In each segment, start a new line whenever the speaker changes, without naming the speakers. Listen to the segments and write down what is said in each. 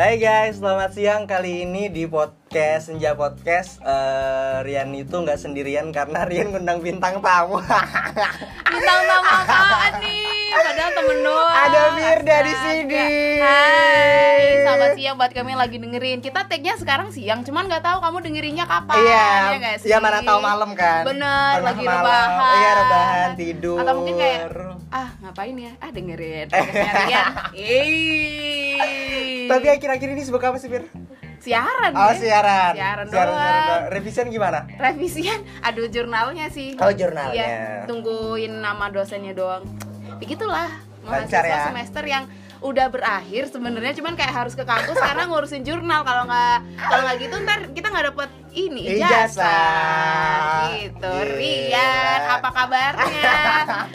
Hai guys, selamat siang kali ini di podcast Senja Podcast eh, Rian itu nggak sendirian karena Rian ngundang bintang tamu
Bintang tamu apaan nih? Padahal temen doang
Ada Firda di
Astaga.
sini.
Hai, selamat siang buat kami yang lagi dengerin Kita tagnya sekarang siang, cuman nggak tahu kamu dengerinnya kapan
Iya,
nggak sih?
ya mana tahu malam kan
Bener,
Tengah
lagi
malam.
rebahan
Iya, rebahan, tidur
Atau mungkin kayak, ah ngapain ya? Ah dengerin, podcastnya Rian Yeay.
Tapi akhir-akhir ini sibuk apa sih, Fir?
Siaran
Oh,
ya?
siaran
Eh, Siaran
siaran
doang.
doang. Revisian gimana?
revisian aduh jurnalnya sih
Oh, jurnalnya.
Iya, tungguin nama dosennya doang begitulah mahasiswa
Lancar ya.
semester yang udah berakhir sebenarnya cuman kayak harus ke kampus karena ngurusin jurnal kalau nggak kalau nggak gitu ntar kita nggak dapet
Ijazah. Iya.
ini ijazah gitu
Gila.
Rian apa kabarnya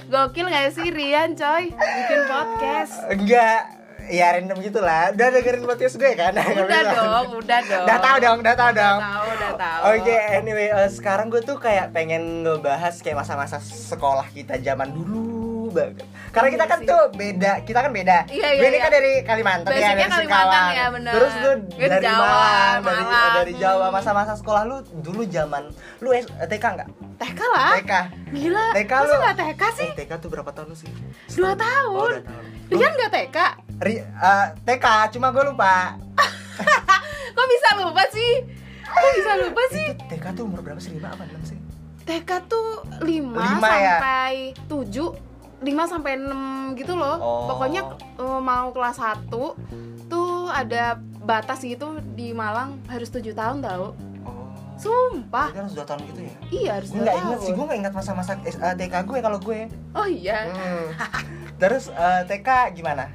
gokil nggak sih Rian coy bikin podcast
Enggak Ya random gitulah Udah dengerin podcast gue kan?
udah dong udah dong
Udah tahu dong, udah tahu dong
tahu udah tahu
Oke, anyway, eh, sekarang gue tuh kayak pengen ngebahas kayak masa-masa sekolah kita zaman dulu banget. Karena kita kan
Iya sih.
tuh beda, kita kan beda.
Iya, iya,
gue ini
iya.
kan dari Kalimantan ya,
Basicnya
dari
Kalimantan
Singkawang.
ya, bener.
Terus gue
Gue
dari
Jawa,
Malang, dari
Malang.
dari Jawa.
Hmm.
Masa-masa sekolah lu dulu zaman lu S- eh, TK enggak?
TK lah
TK.
gila
TK
masa
lu.
nggak TK sih
Eh, TK tuh berapa tahun lu sih?
dua
Setahun. Oh,
tahun
dua tahun. Lu-
Rian nggak TK
Ri- eh, TK, cuma gue lupa.
Kok bisa lupa sih? Kok bisa lupa sih?
Itu TK tuh umur berapa sih? 5 apa 6 sih?
TK tuh 5
Lima ya?
sampai 7 5 sampai 6 gitu loh
Oh.
Pokoknya eh, mau kelas 1 Tuh ada batas gitu di Malang harus 7 tahun tau
Oh.
Sumpah
Berarti harus dua tahun gitu ya?
Iya harus
gue
2
nggak inget sih
tahun
gue nggak inget masa-masa S- eh, TK gue kalau gue
Oh iya
Hmm. terus eh, TK gimana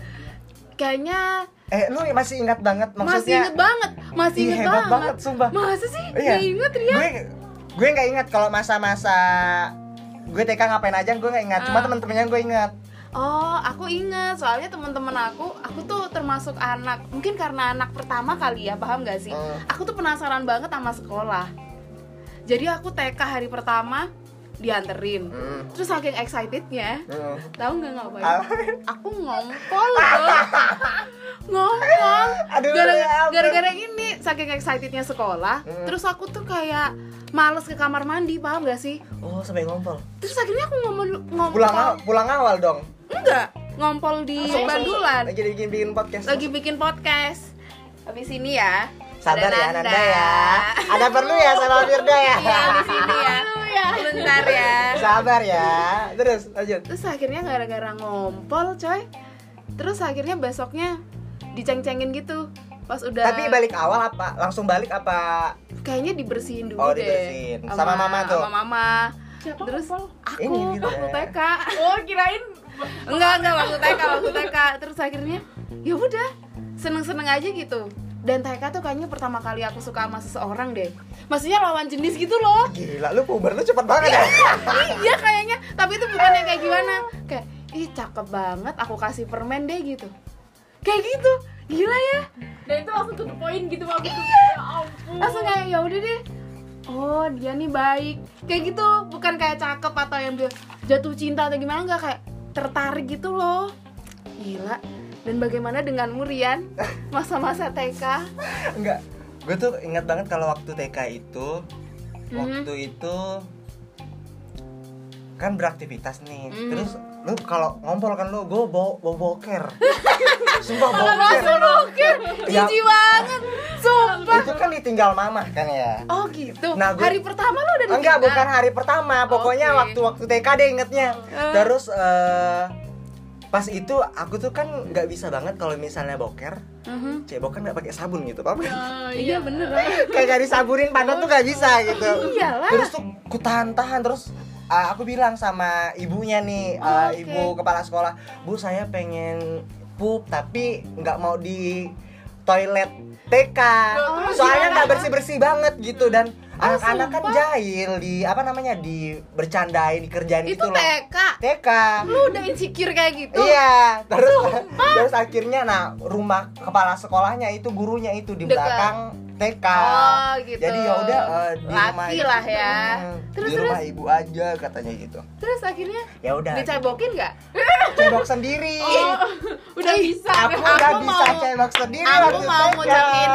Kayaknya
eh lu masih ingat banget
masih
maksudnya
inget banget Masih
Ih,
inget
hebat
banget.
banget, sumpah.
Masa sih?
Iya.
Nggak inget Ria
gue gue nggak inget kalau masa-masa gue TK ngapain aja gue nggak ingat cuma
Ah.
temen-temennya gue ingat
Oh, aku inget soalnya teman-teman aku, aku tuh termasuk anak mungkin karena anak pertama kali ya, paham gak sih?
Hmm.
Aku tuh penasaran banget sama sekolah. Jadi aku TK hari pertama dianterin,
Hmm.
terus saking excitednya,
Hmm.
tahu nggak ngapain?
Apa?
Aku ngompol loh, ngompol.
Aduh, ya
Gara-
ampun.
Gara-gara ini saking excitednya sekolah,
Hmm.
terus aku tuh kayak males ke kamar mandi, paham gak sih?
oh sampai ngompol
Terus akhirnya aku ngomong ngompol.
pulang aw- pulang awal dong
Enggak, ngompol di
Langsung-
Bandulan.
lagi bikin bikin podcast
Lagi bikin podcast. Habis ini ya.
sabar
ada
ya Nanda ya ada perlu ya sama Firda ya
Iya, habis ini
Iya.
ya. Bentar ya.
sabar ya terus lanjut
Terus akhirnya gara-gara ngompol, coy. Terus akhirnya besoknya diceng-cengin gitu. Pas udah
Tapi balik awal apa? Langsung balik apa?
kayaknya dibersihin dulu
Oh,
deh.
dibersihin. Sama mama tuh.
Sama mama. Terus aku
Ini gitu
waktu
ya.
TK. Oh, kirain enggak enggak waktu TK, waktu TK. Terus akhirnya ya udah seneng-seneng aja gitu. Dan TK tuh kayaknya pertama kali aku suka sama seseorang deh. Maksudnya lawan jenis gitu loh.
Gila, lu puber lu cepet banget ya?
iya kayaknya, tapi itu bukan yang kayak gimana. Kayak ih cakep banget, aku kasih permen deh gitu. Kayak gitu. Gila ya.
dan itu langsung to the point gitu waktu itu
Iya,
ya ampun
langsung kayak ya udah deh oh dia nih baik kayak gitu bukan kayak cakep atau yang dia jatuh cinta atau gimana nggak kayak tertarik gitu loh gila dan bagaimana denganmu Rian
Oh,
masa-masa TK
Enggak. Gue tuh ingat banget kalau waktu TK itu
Mhm.
waktu itu kan beraktivitas nih.
Mhm.
Terus lu kalau ngompol kan lu gue bawa bawa boker. Sumpah boker.
langsung oke
Ya.
jijik banget sumpah
Itu kan ditinggal mamah kan ya.
oh gitu
Nah, gue-
hari pertama lo udah di
Enggak, bukan hari pertama. Pokoknya
Oke.
waktu-waktu TK deh ingetnya.
Eh.
Terus eh, pas itu aku tuh kan nggak bisa banget kalau misalnya boker,
Mhm.
cebok kan nggak pakai sabun gitu, paham nggak?
iya bener
kayak gak disaburin pantat tuh gak bisa gitu
Iyalah.
terus tuh ku tahan tahan terus uh, aku bilang sama ibunya nih
Oh,
uh,
oke.
ibu kepala sekolah bu saya pengen pup tapi nggak mau di toilet TK
terus
soalnya
gimana? Oh,
nggak bersih bersih banget gitu dan anak-anak kan
sumpah.
jahil di apa namanya di bercandain dikerjain
itu
gitu loh
TK
TK
lu udah insecure kayak gitu
Iya, terus terus akhirnya nah rumah kepala sekolahnya itu gurunya itu di
Dekat.
belakang TK.
Oh, gitu.
Jadi ya udah eh, di
Laki
rumah
lah ya.
Hmm,
Terus,
di rumah ibu aja katanya gitu.
terus akhirnya
Ya udah.
dicebokin nggak
cebok sendiri
Oh, udah
Ih,
bisa.
Iya. aku udah
Aku
bisa
mau-
cebok sendiri
aku
waktu
mau
TK.
ngucapin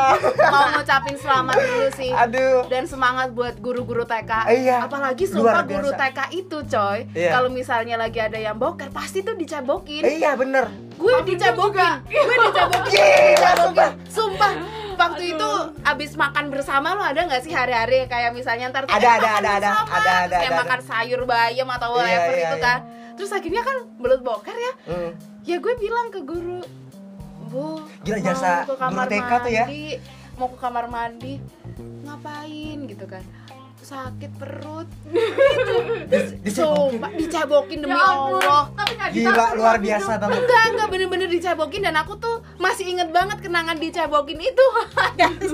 mau ngucapin selamat dulu sih
aduh
dan semangat buat guru-guru TK.
Iya,
Apalagi
luar
sumpah guru
biasa.
TK itu, coy.
Iya.
Kalau misalnya lagi ada yang boker, pasti tuh dicebokin.
iya bener
Gue dicebokin. Gue dicebokin.
gila
Dicebokin.
sumpah
Sumpah. Waktu itu abis makan bersama lo ada nggak sih hari-hari yang kayak misalnya ntar tuh,
Ada,
eh,
ada,
makan
ada, ada, ada,
bersama,
ada,
terus kayak
ada, ada.
makan sayur bayam atau
Iya,
whatever
iya,
gitu
iya.
kan. Terus akhirnya kan belut boker ya.
Hmm.
Ya gue bilang ke guru, Bu,
Gila,
mau
jasa
ke kamar
guru TK
mandi,
tuh ya."
Mau ke kamar mandi, ngapain gitu kan? Sakit perut,
Di- di cebok.
Sumpah, dicebokin demi
Ya ampun,
Allah
Tapi nggak
gila
ditahan,
luar
tapi
biasa
hidup.
banget
Enggak, enggak bener-bener dicebokin dan aku tuh masih inget banget kenangan dicebokin itu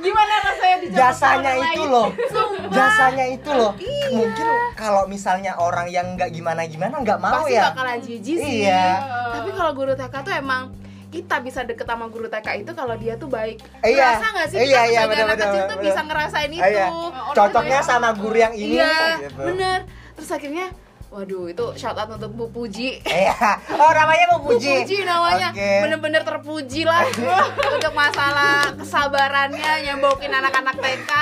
Gimana rasanya dicoba
jasanya
orang
itu
lain?
loh
Sumpah. Iya.
jasanya itu loh mungkin kalau misalnya orang yang nggak gimana gimana nggak mau
Pasti
ya
bakalan jijik sih
Iya.
Tapi kalau guru TK tuh emang kita bisa deket sama guru TK itu kalau dia tuh baik
Iya.
Ngerasa gak sih?
Iya,
kita
iya,
sebagai anak
bener-bener,
kecil tuh
bener-bener.
bisa ngerasain itu
Iya. cocoknya sama guru yang ini
Iya,
gitu.
bener Terus akhirnya, waduh itu shout out untuk Bu Puji
Iya. Oh namanya mau puji.
Puji namanya
Oke.
bener-bener terpuji lah untuk masalah kesabarannya nyembokin anak-anak TK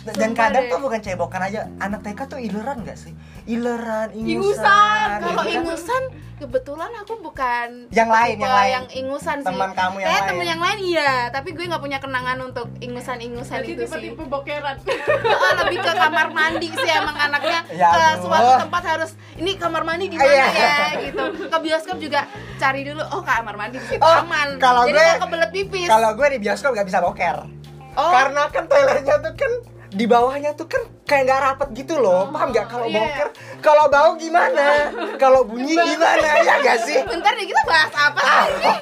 Dan
Sumpah
kadang
deh.
tuh bukan cebokan aja. Anak TK tuh ileran gak sih? Ileran, ingusan.
Ingusan.
kalau
gitu kan.
ingusan kebetulan aku bukan
Yang lain,
tipe
yang lain.
ingusan sih
Teman kamu yang
Kayak
lain.
temen yang lain iya tapi gue nggak punya kenangan untuk ingusan-ingusan itu
Jadi
gitu sih
tipe-tipe gitu bokeran.
Oh, lebih ke kamar mandi sih emang anaknya
Ya
ke
ampun.
suatu tempat harus ini kamar mandi di mana
Iya.
ya gitu ke bioskop juga cari dulu oh kamar mandi di situ
Oh,
aman
kalau
jadi
gue-
nggak kebelet pipis
Kalau gue di bioskop gak bisa boker.
Oh.
Karena kan toiletnya tuh kan di bawahnya tuh kan kayak nggak rapet gitu loh.
Oh,
Paham gak kalau
iya.
boker? Kalau bau gimana? kalau bunyi gimana? Ya gak sih?
Bentar deh kita bahas apa
Ah.
sih?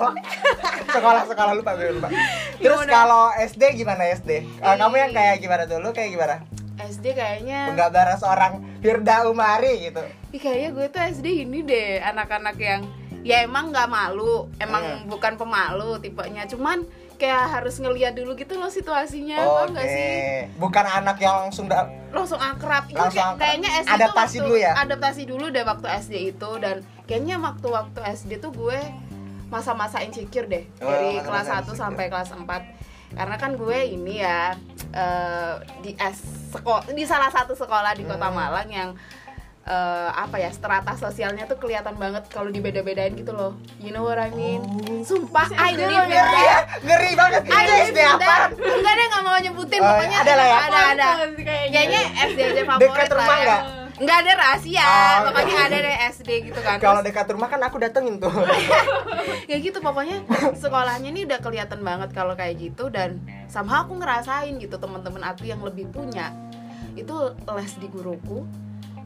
sekolah sekolah lupa gue lupa. Terus
Gimana?
kalau SD gimana SD? Eh, kamu yang kayak gimana dulu? Kayak gimana?
SD kayaknya
Penggambaran seorang Firda Umari gitu.
Ih, kayaknya gue tuh SD ini deh anak-anak yang ya emang nggak malu emang
Hmm.
bukan pemalu tipenya cuman kayak harus ngeliat dulu gitu loh situasinya
Oke.
paham nggak sih
Bukan anak yang langsung da-
langsung akrab itu
Langsung
kayak-
akrab.
kayaknya SD
Adaptasi
tuh waktu,
dulu ya?
adaptasi dulu deh waktu SD itu dan kayaknya waktu waktu SD tuh gue masa-masa insecure deh
Oh,
dari
masa-masa
kelas 1
insecure.
sampai kelas 4 karena kan gue ini ya eh, di S sekolah di salah satu sekolah di
Hmm.
Kota Malang yang eh, apa ya strata sosialnya tuh kelihatan banget kalau dibeda-bedain gitu loh you know what I mean
Oh.
sumpah I live in
Sedih
ngeri
that.
ya, ngeri banget.
I
Itu
live
SD
in
apa?
that. enggak deh nggak mau nyebutin
Oh,
pokoknya
ada lah ya?
ada ada
Kayaknya
kayaknya SD aja favorit
Dekat
lah
rumah
ya.
nggak?
Nggak ada rahasia,
Oh,
pokoknya
oke.
ada deh SD gitu kan.
Kalau
Terus,
dekat rumah kan aku datengin tuh.
ya gitu pokoknya sekolahnya ini udah kelihatan banget kalau kayak gitu dan sama aku ngerasain gitu teman-teman aku yang lebih punya itu les di guruku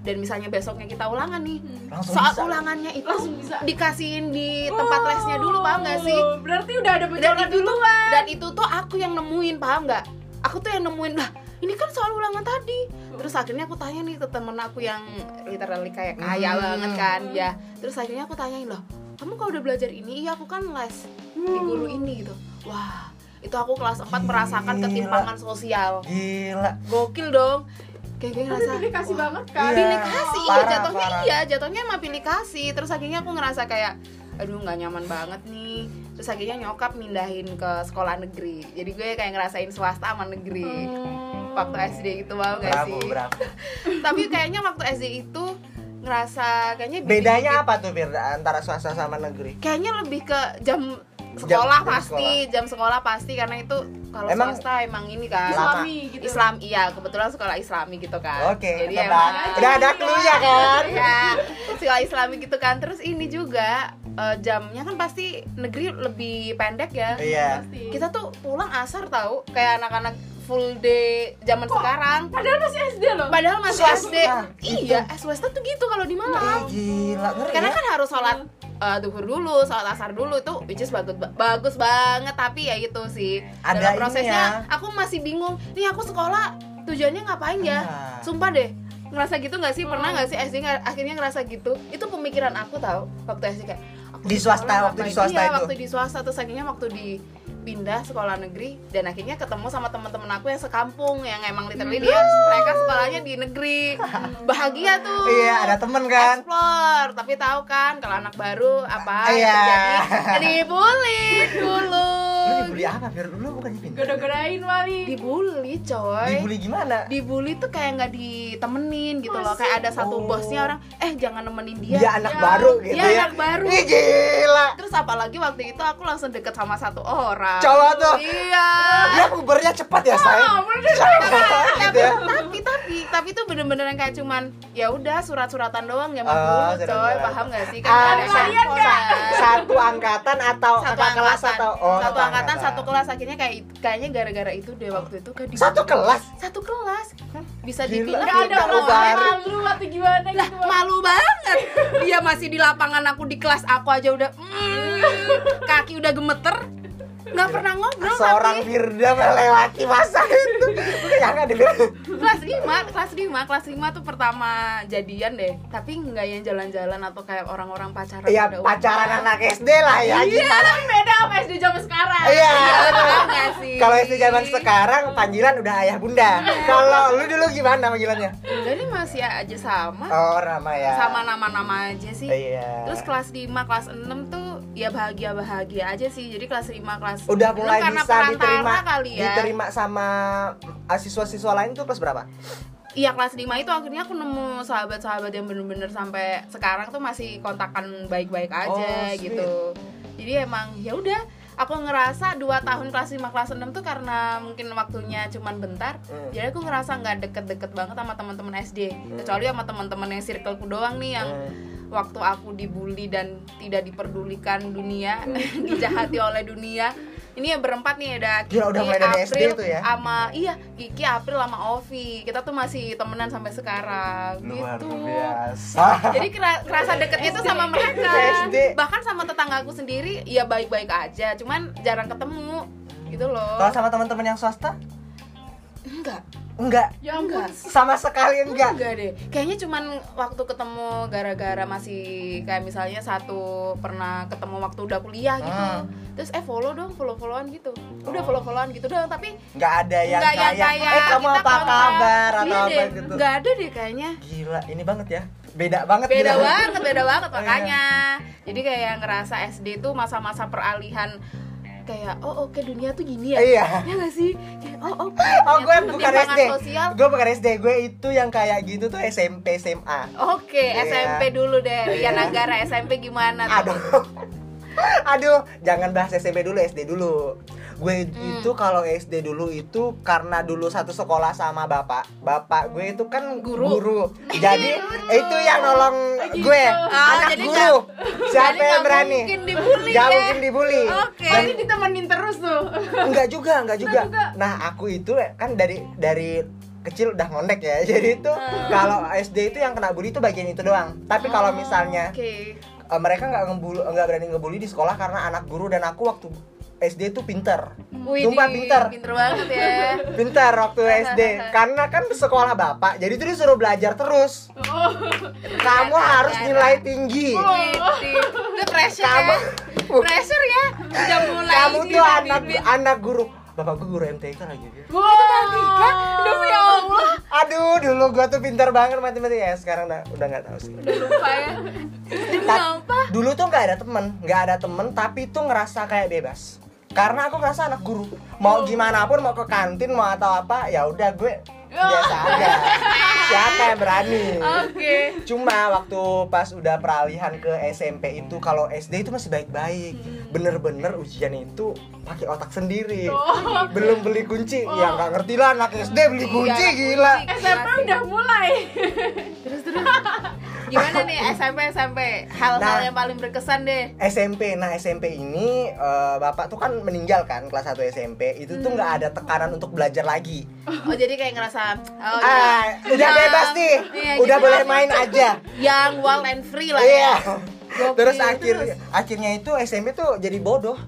dan misalnya besoknya kita ulangan nih
Langsung
soal
bisa.
ulangannya itu
Langsung bisa.
dikasihin di tempat lesnya dulu paham nggak sih
Oh, Berarti udah ada
dan
bocoran
itu tuh
duluan.
dan itu tuh aku yang nemuin paham nggak aku tuh yang nemuin lah ini kan soal ulangan tadi terus akhirnya aku tanya nih ke temen aku yang literally kayak kaya
Hmm.
banget kan ya terus akhirnya aku tanyain loh kamu kalau udah belajar ini iya aku kan les di
Hmm.
guru ini gitu wah itu aku kelas 4 merasakan
Gila.
ketimpangan sosial
Gila.
gokil dong kayak gue
Tapi
ngerasa
pilih kasih
wah,
banget kan.
Iya.
pilih kasih iya
Parah,
jatuhnya
parah.
iya jatuhnya emang pilih kasih terus akhirnya aku ngerasa kayak aduh nggak nyaman banget nih terus akhirnya nyokap mindahin ke sekolah negeri jadi gue kayak ngerasain swasta sama negeri
Hmm,
waktu SD gitu
Oh.
wow gak
Bravo,
sih
bravo.
tapi kayaknya waktu SD itu ngerasa kayaknya
Bedanya
dikit-dikit-
apa tuh Firda antara swasta sama negeri?
kayaknya lebih ke jam sekolah
jam
pasti jam sekolah pasti karena itu kalau
Emang-
swasta emang ini kan
Lama.
Islami gitu.
Islam iya kebetulan sekolah Islami gitu kan
Oke,
jadi
tebak.
emang
Udah ada clue-nya kan?
ya sekolah islami gitu kan terus ini juga eh, jamnya kan pasti negeri lebih pendek ya
Iya.
Pasti.
kita tuh pulang asar tahu kayak anak-anak full day zaman sekarang
Padahal masih SD loh.
padahal masih
Swasta,
SD iya eh, swasta tuh gitu kalau di
Ih,
Malang
gila, ngeri.
karena
ya?
kan harus sholat eh, duhur dulu, sholat asar dulu itu which is bagus bagus banget tapi ya itu sih
Ada
dalam
ini
prosesnya aku masih bingung nih aku sekolah tujuannya ngapain ya
Nah.
sumpah deh ngerasa gitu nggak sih
Hmm.
pernah nggak sih SD nggak- akhirnya ngerasa gitu itu pemikiran aku tahu waktu SD kayak aku
Di swasta,
sekolah
waktu di
ngapain?
swasta
Iya,
itu?
waktu di swasta terus akhirnya waktu di pindah sekolah negeri dan akhirnya ketemu sama teman-teman aku yang sekampung yang emang literally dia
Hmm.
mereka sekolahnya di negeri bahagia tuh
Iya, ada temen kan?
explore tapi tahu kan kalau anak baru apa yang
Iya.
terjadi dibully dulu
Lu dibully apa? Biar lu bukannya pintar.
Goda-godain wali.
dibully coy
Dibully gimana?
dibully tuh kayak nggak ditemenin gitu loh kayak ada satu
Oh.
bosnya orang eh jangan nemenin dia
Dia anak baru gitu
iya, dia
ya.
anak baru.
Ih, gila.
terus apalagi waktu itu aku langsung deket sama satu orang
Cowok tuh.
iya Oh,
Dia pubernya cepat ya, say.
Ah, bener.
gitu
tapi,
ya.
tapi tapi tapi tuh bener-bener yang kayak cuman ya udah surat-suratan doang zaman
Oh,
dulu coy
surat-suratan.
paham gak sih
Ah,
kan ada
kalian
handphone, kan?
Satu angkatan atau
satu
kakak kelas
angkatan
atau oh,
satu angkatan satu kelas akhirnya kayak kayaknya gara-gara itu deh waktu itu kayak di-
Satu kelas.
satu kelas bisa
Gila,
dibilang
Gak ada
Kita
orang.
baru.
perasaan malu atau gimana
lah
gitu.
malu banget dia masih di lapangan aku di kelas aku aja udah mm, kaki udah gemeter nggak pernah ngobrol
Seorang
tapi
Firda melewati masa itu. Lu yang ada
kelas 5 kelas 5 kelas 5 tuh pertama jadian deh tapi nggak yang jalan-jalan atau kayak orang-orang pacaran
Iya,
pada
pacaran
umumnya.
anak SD lah ya.
Iya, tapi beda sama SD zaman sekarang.
Iya.
Paham nggak sih
Kalau SD zaman sekarang panggilan udah ayah bunda.
Iya.
Kalau lu dulu gimana panggilannya?
enggak nih masih aja sama
Oh, Rama ya.
sama nama-nama aja sih
Iya.
Terus kelas 5, kelas 6 tuh ya bahagia-bahagia aja sih. Jadi kelas 5, kelas
udah
enam
mulai
karena
bisa
perantara
diterima
kali ya.
diterima sama ah, siswa-siswa lain tuh kelas berapa?
Iya, kelas 5 itu akhirnya aku nemu sahabat-sahabat yang bener-bener sampai sekarang tuh masih kontakan baik-baik aja
Oh, sweet.
gitu. Jadi emang ya udah aku ngerasa 2 tahun kelas 5 kelas 6 tuh karena mungkin waktunya cuman bentar.
Hmm.
Jadi aku ngerasa nggak deket-deket banget sama teman-teman SD. Kecuali sama teman-teman yang circleku doang nih yang
Hmm.
waktu aku dibully dan tidak diperdulikan dunia
Hmm.
dijahati oleh dunia ini ya berempat nih ada Kiki,
Gila, udah mulai dari SD
April,
tuh ya.
sama iya Kiki, April, sama Ovi kita tuh masih temenan sampai sekarang gitu
biasa.
jadi kera- kerasa deketnya tuh sama mereka
SD.
bahkan sama tetanggaku sendiri ya baik-baik aja cuman jarang ketemu gitu loh
Kalau sama teman-teman yang swasta?
enggak
Enggak.
Ya ampun.
Sama sekali enggak.
enggak deh kayaknya cuman waktu ketemu gara-gara masih kayak misalnya satu pernah ketemu waktu udah kuliah gitu
Hmm.
terus eh follow dong follow followan gitu
Oh.
udah follow followan gitu dong tapi
Enggak ada yang
enggak yang
kayak,
kayak
eh kamu
kita
apa
kontak."
kabar
Iya
atau apa
deh,
gitu. Iya.
nggak ada deh kayaknya
Gila, ini banget ya. Beda banget gitu.
beda
gila.
banget beda banget
Iya.
makanya jadi kayak ngerasa SD tuh masa-masa peralihan kayak oh oke dunia tuh gini ya
Iya.
ya nggak sih kayak oh oke
Oh, gue
dunia tuh
bukan
pertimbangan
SD.
sosial
Gue bukan SD. Gue itu yang kayak gitu tuh SMP, SMA.
Oke,
Iya.
SMP dulu deh. Rian Anggara SMP gimana tuh?
Aduh. Aduh, jangan bahas SMP dulu, SD dulu. Gue
Hmm.
itu kalau SD dulu itu karena dulu satu sekolah sama bapak. Bapak gue itu kan
Guru. Iya,
guru. Jadi itu yang nolong
Gitu.
gue,
Ah,
anak
jadi
guru.
Jadi
Siapa yang
nggak
berani?
Mungkin dibully
Gak
ya.
mungkin dibully.
Oke.
Dan-
Pasti ditemenin terus tuh.
enggak juga, enggak juga.
Enggak juga.
Nah, aku itu kan dari dari kecil udah ngondek ya. Jadi itu
Ah.
kalau SD itu yang kena bully itu bagian itu doang. Tapi kalau misalnya
Oh, Oke.
Eh, mereka nggak ngebul nggak berani ngebully di sekolah karena anak guru dan aku waktu SD tuh pinter
Wih,
Sumpah,
di-
pinter.
Pinter banget ya.
pinter waktu SD karena kan sekolah bapak jadi tuh disuruh belajar terus
Oh.
kamu harus nilai tinggi
Oh, Wih, itu pressure
kamu
ya. Pressure ya. Udah mulai
kamu
ini
tuh
nih,
anak
Bin.
anak guru bapak gue guru MTK lagi
Wow.
Aduh ya Allah,
aduh dulu gua tuh pinter banget matematika ya sekarang udah udah nggak tahu sih
udah lupa ya. Demi
Ta-
apa?
dulu tuh nggak ada temen nggak ada temen tapi tuh ngerasa kayak bebas karena aku ngerasa anak guru
Oh.
mau gimana pun mau ke kantin mau atau apa ya udah gue
Oh.
biasa aja siapa yang berani
Oke.
cuma waktu pas udah peralihan ke SMP itu kalau SD itu masih baik-baik
Hmm.
bener-bener ujian itu pakai otak sendiri
Oh.
belum beli kunci ya nggak ngerti lah anak SD beli kunci
Iya, anak
gila
kunci.
SMP udah mulai.
Gimana nih SMP SMP? Hal-hal
Nah.
yang paling berkesan deh.
SMP. Nah, SMP ini eh, Bapak tuh kan meninggal kan kelas 1 SMP. Itu
Hmm.
tuh nggak ada tekanan untuk belajar lagi.
Oh, jadi kayak ngerasa oh,
ah,
ya.
udah bebas nih.
Iya,
udah
gitu.
boleh main aja.
yang wild and free lah
Iya.
ya. Gokil.
Terus akhirnya akhirnya itu SMP tuh jadi bodoh.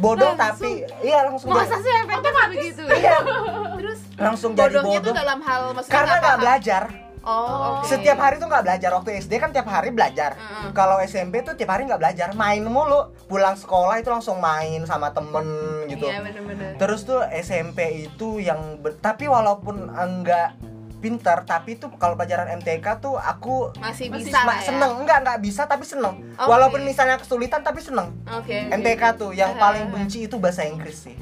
Bodoh tapi iya langsung
Masa
jadi-
sih efeknya kayak begitu?
Iya.
Terus
Langsung jadi
bodohnya tuh
bodoh.
dalam hal maksudnya
Karena
nggak
nggak
paham.
belajar.
Oh, oke.
Setiap hari tuh nggak belajar. Waktu SD kan tiap hari belajar.
Mm-mm.
Kalau SMP tuh tiap hari nggak belajar, main mulu. Pulang sekolah itu langsung main sama temen gitu.
Iya, bener-bener.
Terus tuh SMP itu yang ber- tapi walaupun enggak pintar, tapi tuh kalau pelajaran MTK tuh aku
masih
Masih
bisa
ma-
lah ya. Oh,
seneng enggak enggak bisa tapi seneng.
Oke.
Walaupun misalnya kesulitan tapi seneng.
Oke.
MTK tuh yang
Eh.
Ah.
paling benci itu bahasa Inggris sih.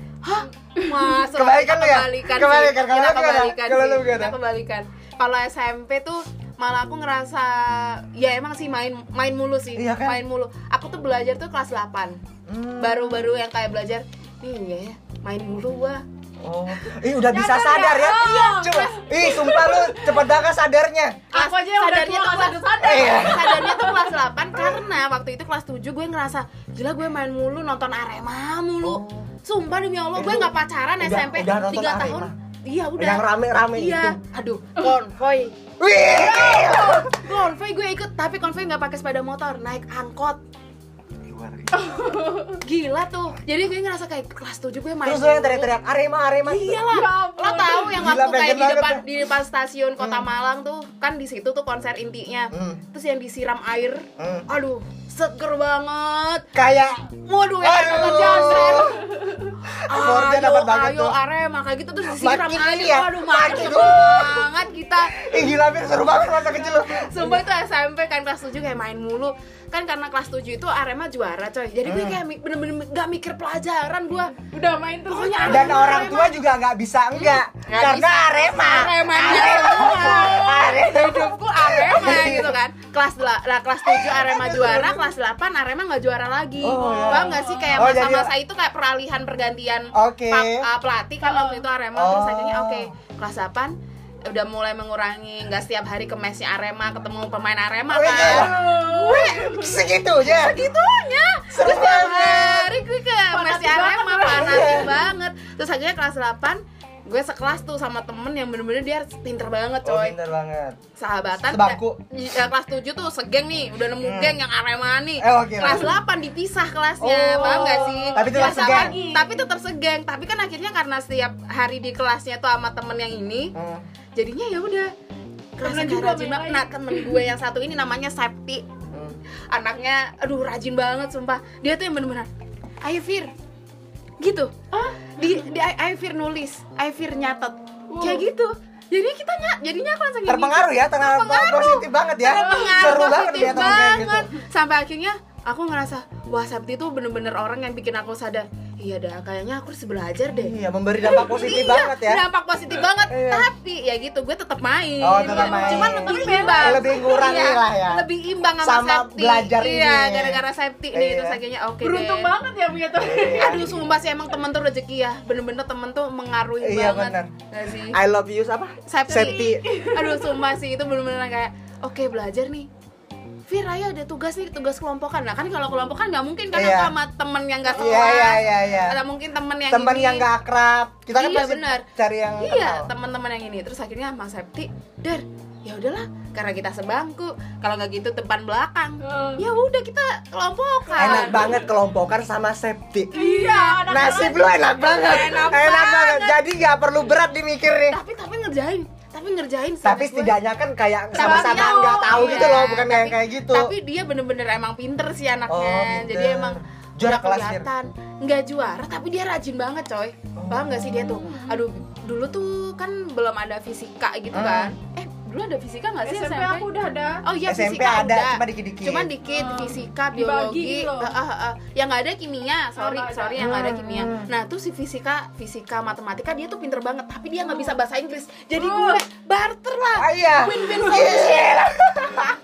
Mas,
Kebalikan lu ya?
Kebalikan, sih.
Kebalikan, kalau
Kita
lu gimana?
kebalikan
Kalau
sih.
lu gimana?
Kita kebalikan. Kalau SMP tuh malah aku ngerasa ya emang sih main main mulu sih.
Iya kan?
Main mulu. Aku tuh belajar tuh kelas 8.
Hmm.
Baru-baru yang kayak belajar nih iya ya, main mulu gua.
Oh, ih udah bisa
Nyadar
sadar
ya?
ya?
Iya.
Coba, ih sumpah lu cepet banget sadarnya.
Aku aja yang udah
sadarnya tuh
tua nggak
kelas
sadar-sadar.
Iya.
sadarnya tuh kelas 8 karena waktu itu kelas 7 gue ngerasa gila gue main mulu nonton Arema mulu. Sumpah demi Allah
Oh.
gue
Itu
nggak pacaran
udah-
SMP
udah nonton
3
Arema?
tahun.
Oh,
Iya udah.
Yang rame-rame
iya.
gitu. Iya.
Aduh, konvoy.
Wih, gila.
konvoy gue ikut tapi konvoy nggak pakai sepeda motor naik angkot
Luar biasa.
gila tuh jadi gue ngerasa kayak kelas 7 gue main
Terus lo yang
mulu.
teriak-teriak Arema, Arema.
iyalah
Ya ampun.
lo tahu yang
Gila,
waktu kayak
pengen
di
banget
depan
tuh.
di depan stasiun kota
Hmm.
Malang tuh kan di situ tuh konser intinya
Hmm.
terus yang disiram air
Hmm.
aduh seger banget
Kayak
waduh yang
Aduh.
dapat jaser
Effortnya
ya, ayo
dapat banget
ayo
tuh.
Arema kayak gitu terus disiram
Makin
air
ini ya,
aduh
makin.
makin banget kita
Ih gila Fir, seru banget masa kecil lu
Sumpah itu SMP kan kelas 7 kayak main mulu Kan karena kelas 7 itu Arema juara coy Jadi gue
Hmm.
kayak mi- bener-bener gak mikir pelajaran gue
Udah main terus.
Pokoknya
Dan
Arema,
orang
Arema.
tua juga nggak bisa enggak
Nggak
Karena
bisa.
Arema
Arema
Arema
Hidupku Arema gitu kan Kelas dela- lah, kelas 7 Arema juara Kelas 8 Arema gak juara lagi
Oh, iya.
Paham gak sih kayak
Oh, jadi-
masa-masa itu kayak peralihan pergantian
Oke.
pa- uh, Pelatih kan waktu itu Arema Terus
Oh.
akhirnya oke kelas 8 udah mulai mengurangi nggak setiap hari ke mesnya Arema ketemu pemain
Oh,
Arema
iya.
kan
gitu. Segitunya
segitunya
Seru
terus tiap
banget. Iya.
hari gue ke
Fanatik
masih Arema
banget.
fanatik banget terus akhirnya kelas 8 gue sekelas tuh sama temen yang bener-bener dia pinter banget
Oh
coy
pinter banget
sahabatan
Sebangku.
Di- eh, kelas 7 tuh segeng nih udah nemu geng yang Arema nih
Hmm. Eh, oke.
kelas 8 dipisah kelasnya
Oh.
paham gak sih
Tapi tetap
Kelas delapan,
segeng.
tapi tetap segeng tapi kan akhirnya karena setiap hari di kelasnya tuh sama temen yang ini
Hmm.
jadinya ya udah
Temen
kelasnya
juga
juga
main lain.
nah temen gue yang satu ini namanya Septi
Hmm.
anaknya aduh rajin banget sumpah dia tuh yang bener-bener ayo Fir gitu di, di ayo Fir nulis ayo Fir nyatet
Wow.
kayak gitu jadi kita nyat jadinya aku langsung kayak
Terpengaruh ya, terpengaruh positif banget
gitu.
ya
Terpengaruh,
Seru banget
positif
dia temen kayak gitu
banget. sampai akhirnya aku ngerasa wah Sabti tuh bener-bener orang yang bikin aku sadar iya dah kayaknya aku harus belajar deh
Iya memberi dampak positif
Iya,
banget ya
Dampak positif banget.
Iya.
Tapi ya gitu, gue tetap main.
Oh, tetap main. Iya,
Cuman lebih imbang.
Lebih ngurangi
Iya,
lah ya.
Lebih imbang sama,
Sama
safety.
belajar
Iya,
ini.
gara-gara safety nih
Iya.
terus akhirnya oke.
Beruntung
deh.
banget ya punya temen.
Iya.
Aduh, sumpah sih emang temen tuh rezeki ya. Bener-bener temen tuh mengaruhi
Iya,
banget.
bener.
Nggak sih?
I love you apa?
Safety.
Safety.
Aduh, sumpah sih itu bener-bener kayak oke belajar nih. Fir, ayo ada tugas nih, tugas kelompokan. Nah kan kalau kelompokan nggak mungkin kan
Iya.
aku sama temen yang nggak sekelas.
Iya iya iya iya
Atau mungkin temen yang
Temen
ini.
yang gak akrab Kita kan
Iya,
pasti
benar.
cari yang oh,
Iya,
kenal.
teman-teman yang ini. Terus akhirnya Mas Septi, "Der, ya udahlah, karena kita sebangku. Kalau nggak gitu depan belakang.
Heeh.
Ya udah kita kelompokan."
Enak banget kelompokan sama safety
Iya,
nah,
anak
Nasib lu enak banget.
Enak
banget. Jadi nggak perlu berat dimikirnya.
Tapi tapi ngerjain, tapi ngerjain sih,
Tapi
gue.
setidaknya kan kayak
Tapi
sama-sama
tahu,
nggak tahu
iya.
gitu loh, bukan kayak
Tapi-
kayak gitu.
Tapi dia bener-bener emang pinter sih anaknya.
Oh, pinter.
Jadi emang
Juara
nggak
kelas, Fir?
kelihatan. Nggak juara, tapi dia rajin banget, coy. Paham nggak sih dia tuh? Aduh, dulu tuh kan belum ada fisika gitu
Hmm.
kan. Eh, dulu ada fisika nggak sih
SMP
SMP?
aku udah ada.
Oh iya
SMP
fisika
ada,
udah.
cuma dikit-dikit.
Cuman dikit fisika,
Dibagi
biologi,
gitu loh.
eh, eh, eh. yang nggak ada kimia. Sorry,
nggak ada.
sorry yang nggak ada kimia.
Hmm.
Nah tuh si fisika, fisika, matematika dia tuh pinter banget, tapi dia nggak bisa bahasa Inggris. Jadi
Hmm.
gue barter lah.
Ah, iya.
Win-win solution.
Gila.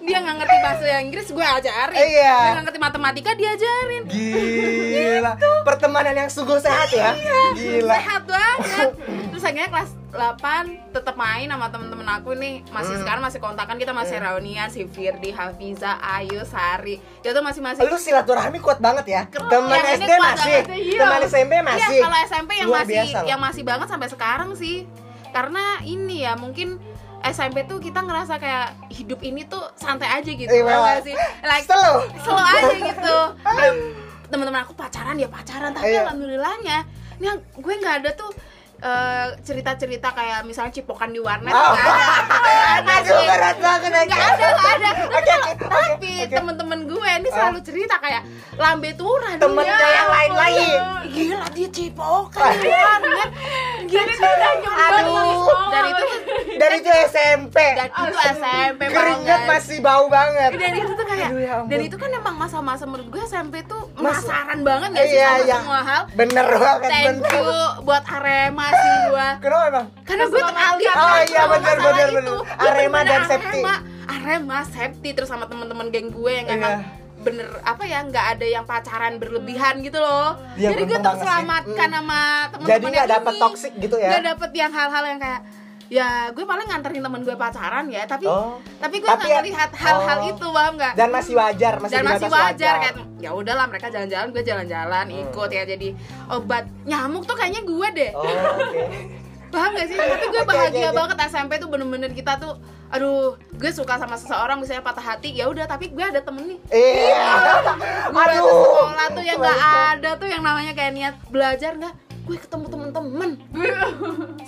Dia nggak ngerti bahasa Inggris, gue ajarin.
Iya.
Dia nggak ngerti matematika, dia ajarin.
Gila. Pertemanan yang sungguh sehat ya. Gila.
Iya, Sehat banget. Terus akhirnya kelas 8 tetap main sama temen-temen aku nih masih
Hmm.
sekarang masih kontakan kita masih reunian si Firdi, Hafiza, Ayu, Sari itu masih masih
Lu silaturahmi kuat banget ya. Teman
yang Iya, ini
SD
kuat
masih,
banget,
iya.
teman SMP masih.
Iya, kalau SMP yang
Luar
masih
biasa loh.
yang masih banget sampai sekarang sih. Karena ini ya mungkin SMP tuh kita ngerasa kayak hidup ini tuh santai aja gitu.
Iya,
tau gak
iya.
sih? Like
Slow.
slow aja gitu. Dan teman-teman aku pacaran ya pacaran, tapi
Iya.
alhamdulillahnya ini yang- gue nggak ada tuh eh, cerita-cerita kayak misalnya cipokan di warnet
Oh.
nggak ada nggak ada
Aduh
sih.
berat banget
nggak
aja.
ada nggak ada
Oke, oke, oke,
tapi
oke. Oh.
temen-temen gue ini selalu cerita kayak lambe turan
Temennya
dia.
yang lain-lain.
gila dia cipokan di warnet
Jadi tuh udah nyoba dari
aduh
sekolah.
dari itu
Dari itu SMP.
dari itu SMP
Keringat
banget.
masih bau banget.
dan itu tuh kayak
Aduh, ya ampun.
dan itu kan emang masa-masa menurut gue SMP tuh
Mas-
penasaran banget gak sih
Iya,
sama
iya.
semua hal
Bener banget
thank
bener.
you buat Arema sih gue
Kenapa emang?
karena gue teralih
Oh, iya,
sama
bener,
masalah
bener,
itu.
bener.
Gua
Arema
bener-bener
dan Septi.
Arema Arema Septi terus sama teman-teman geng gue yang
Iya.
emang bener apa ya nggak ada yang pacaran berlebihan gitu loh
Iya,
jadi gue
beruntung banget sih.
terselamatkan
Mm.
sama teman-teman
Jadi nggak
yang
dapet
ini.
toxic gitu ya?
nggak dapet yang hal-hal yang kayak ya gue paling nganterin temen gue pacaran ya tapi
Oh.
tapi gue
Tapi
nggak
ya-
melihat hal-hal
Oh.
itu paham nggak
Dan masih wajar, masih
dan
di
masih
batas
wajar, kan ya udahlah mereka jalan-jalan gue jalan-jalan ikut ya jadi obat nyamuk tuh kayaknya gue deh
Oh, oke.
paham gak sih tapi gue
Oke,
bahagia
oke, oke.
banget SMP tuh bener-bener kita tuh aduh gue suka sama seseorang misalnya patah hati ya udah tapi gue ada temen nih
Iya.
gue ada sekolah tuh yang nggak ada tuh yang namanya kayak niat belajar nggak gue ketemu temen-temen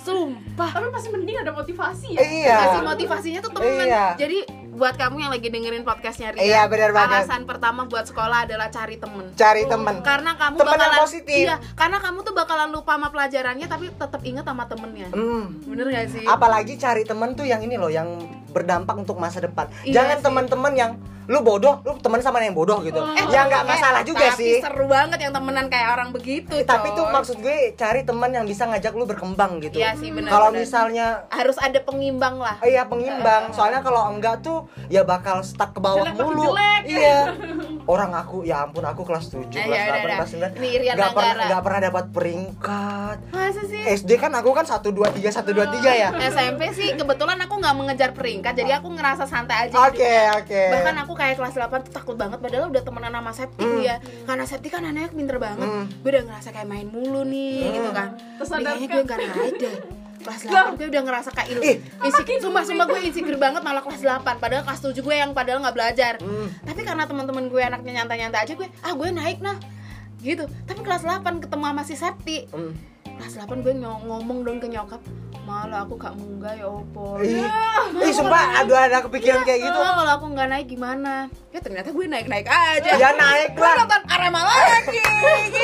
sumpah
Tapi pasti mending ada motivasi ya.
Iya.
kasih motivasinya tuh temen
Iya.
jadi buat kamu yang lagi dengerin podcastnya Ria
Iya, benar banget.
alasan pertama buat sekolah adalah cari temen
Cari teman.
karena kamu
Temen yang
bakalan
positif.
iya karena kamu tuh bakalan lupa sama pelajarannya tapi tetap inget sama temennya
Hmm.
bener gak sih
Apalagi cari temen tuh yang ini loh yang berdampak untuk masa depan.
Iya
Jangan
sih.
teman-teman yang lu bodoh, lu teman sama yang bodoh gitu. ya nggak
eh,
masalah juga
tapi
sih. Eh,
seru banget yang temenan kayak orang begitu
Tapi
Coy.
tuh maksud gue cari teman yang bisa ngajak lu berkembang gitu.
Iya sih, benar,
Kalau
benar.
misalnya
harus ada pengimbang lah
Iya pengimbang. Soalnya kalau enggak tuh ya bakal stuck ke bawah
Jelek makin
mulu.
jelek.
Iya. Orang aku ya ampun aku kelas 7,
Eh,
kelas
ya udah,
8,
udah.
kelas 9.
Ini Irian
Nggak pernah
Anggara.
enggak pernah dapat peringkat.
masa sih
SD kan aku kan 1 2 3 1 2 3 ya.
SMP sih kebetulan aku nggak mengejar peringkat jadi aku ngerasa santai aja gitu.
Oke, oke.
bahkan aku kayak kelas 8 tuh takut banget padahal udah temenan sama Septi ya karena Septi kan anaknya pinter banget
Hmm.
gue udah ngerasa kayak main mulu nih gitu kan
Terus
Nih,
ada
kayaknya
kan?
gue gak naik deh kelas 8 gue udah ngerasa kayak ilu
Ih.
insecure sumpah sumpah gue insecure banget malah kelas 8 padahal kelas 7 gue yang padahal nggak belajar
Hmm.
tapi karena teman-teman gue anaknya nyantai-nyantai aja gue ah gue naik nah gitu tapi kelas 8 ketemu sama si Septi
Hmm.
kelas 8 gue nyong- ngomong dong ke nyokap malah aku gak munggah ya opo
Ih,
Ya.
ih sumpah aduh ada kepikiran kayak gitu.
Wah, kalau aku nggak naik gimana ya ternyata gue naik naik aja
Ya naik
gue
lah.
nonton Arema lagi gitu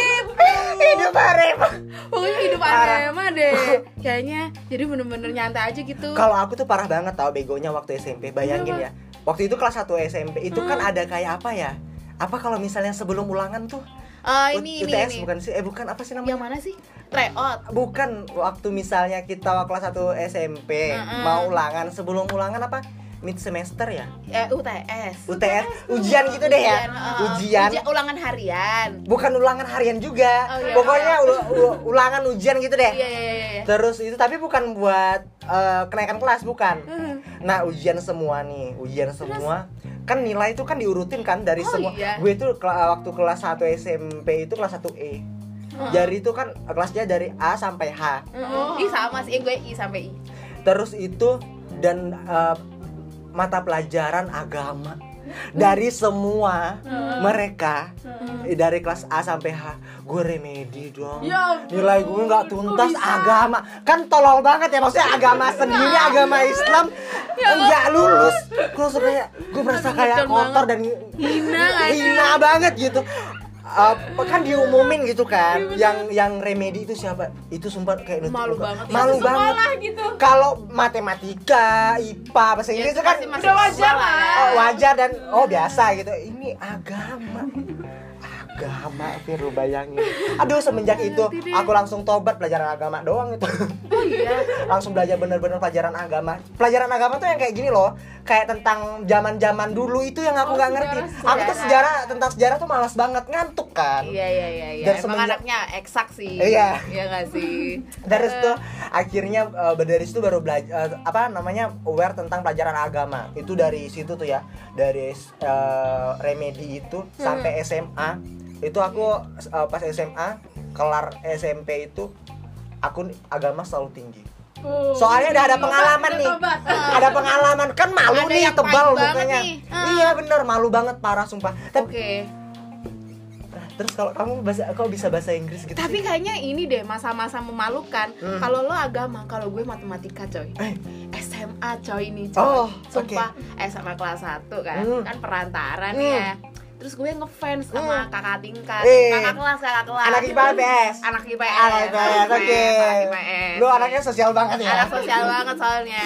Hidup Arema.
pokoknya hidup
Parah.
Arema deh kayaknya jadi bener-bener nyantai aja gitu
Kalau aku tuh parah banget tau begonya waktu SMP. Bayangin
Iya,
ya. Waktu itu kelas 1 SMP itu
Hmm.
kan ada kayak apa ya? Apa kalau misalnya sebelum ulangan tuh?
Eh, ini ini
UTS
ini
bukan sih? Eh bukan apa sih namanya?
yang mana sih tryout
bukan waktu misalnya kita kelas 1 SMP
Mm-mm.
mau ulangan sebelum ulangan apa mid semester ya
eh, UTS
UTS ujian gitu deh ya
eh,
ujian
uji- ulangan harian
bukan ulangan harian juga
Oh, iya.
pokoknya ul- ul- ulangan ujian gitu deh
iya iya iya iya.
terus itu tapi bukan buat eh, kenaikan kelas bukan nah ujian semua nih ujian semua kan nilai itu kan diurutin kan dari
Oh,
semua
iya.
gue itu eh, waktu kelas 1 SMP itu kelas 1 E jadi itu kan kelasnya dari A sampai H
Mm-mm. Ih sama sih, Eh, gue I sampai I.
terus itu dan eh, mata pelajaran agama dari semua mereka eh, dari kelas A sampai H gue remedi dong
Ya ampun.
nilai gue nggak tuntas
Kok bisa?
agama kan tolol banget ya maksudnya agama sendiri agama
Ya
Islam nggak lulus gue langsung kayak gue merasa
Aduh,
kayak
ngecon
kotor
banget.
dan
Hina nggak sih?
hina banget gitu Apa kan diumumin gitu kan yang yang remedi itu siapa itu sumpah kayak nutup
Iya, Malu
muka.
banget ya.
malu banget
Sekolah gitu.
kalau matematika, IPA, bahasa
Ya,
Inggris itu
itu
kan
pasti masih
udah wajar
sekolah
lah.
ya.
oh, wajar dan oh biasa gitu. Ini agama. Agama, Fir, lu bayangin. Aduh, semenjak
Iya,
itu aku langsung tobat pelajaran agama doang itu.
Oh iya.
langsung belajar bener-bener pelajaran agama. Pelajaran agama tuh yang kayak gini loh, kayak tentang zaman-zaman dulu itu yang aku
Oh,
nggak ngerti.
sejarah,
Aku tuh sejarah tentang sejarah tuh malas banget ngantuk kan.
Iya iya iya iya.
Dan
Emang
semenjak-
anaknya eksak sih.
Iya.
Iya nggak sih?
dari situ akhirnya eh, dari situ baru belajar apa namanya aware tentang pelajaran agama itu dari situ tuh ya dari eh, remedi itu sampai SMA itu aku eh, pas SMA kelar SMP itu aku nih, agama selalu tinggi
Oh.
soalnya udah ada
Tobat,
pengalaman
udah
nih
tobat.
ada pengalaman kan malu
Ada
nih
yang
tebal
pahit banget
mukanya
nih. Ah.
iya bener malu banget parah sumpah
Oke.
tapi Nah, terus kalau kamu bahasa kau bisa bahasa Inggris gitu
Tapi kan
sih?
kayaknya ini deh masa-masa memalukan.
Hmm.
Kalau lo agama, kalau gue matematika, coy.
Eh.
SMA coy ini coy.
Oh,
Sumpah SMA kelas 1 kan.
Hmm.
Kan perantara nih
Hmm.
ya. Terus gue ngefans
Hmm.
sama kakak tingkat,
Eh.
kakak kelas, kakak kelas.
Anak IPA best.
Anak IPS.
Anak IPS, oke.
anak IPS.
Lu anaknya sosial banget ya.
Anak sosial banget soalnya.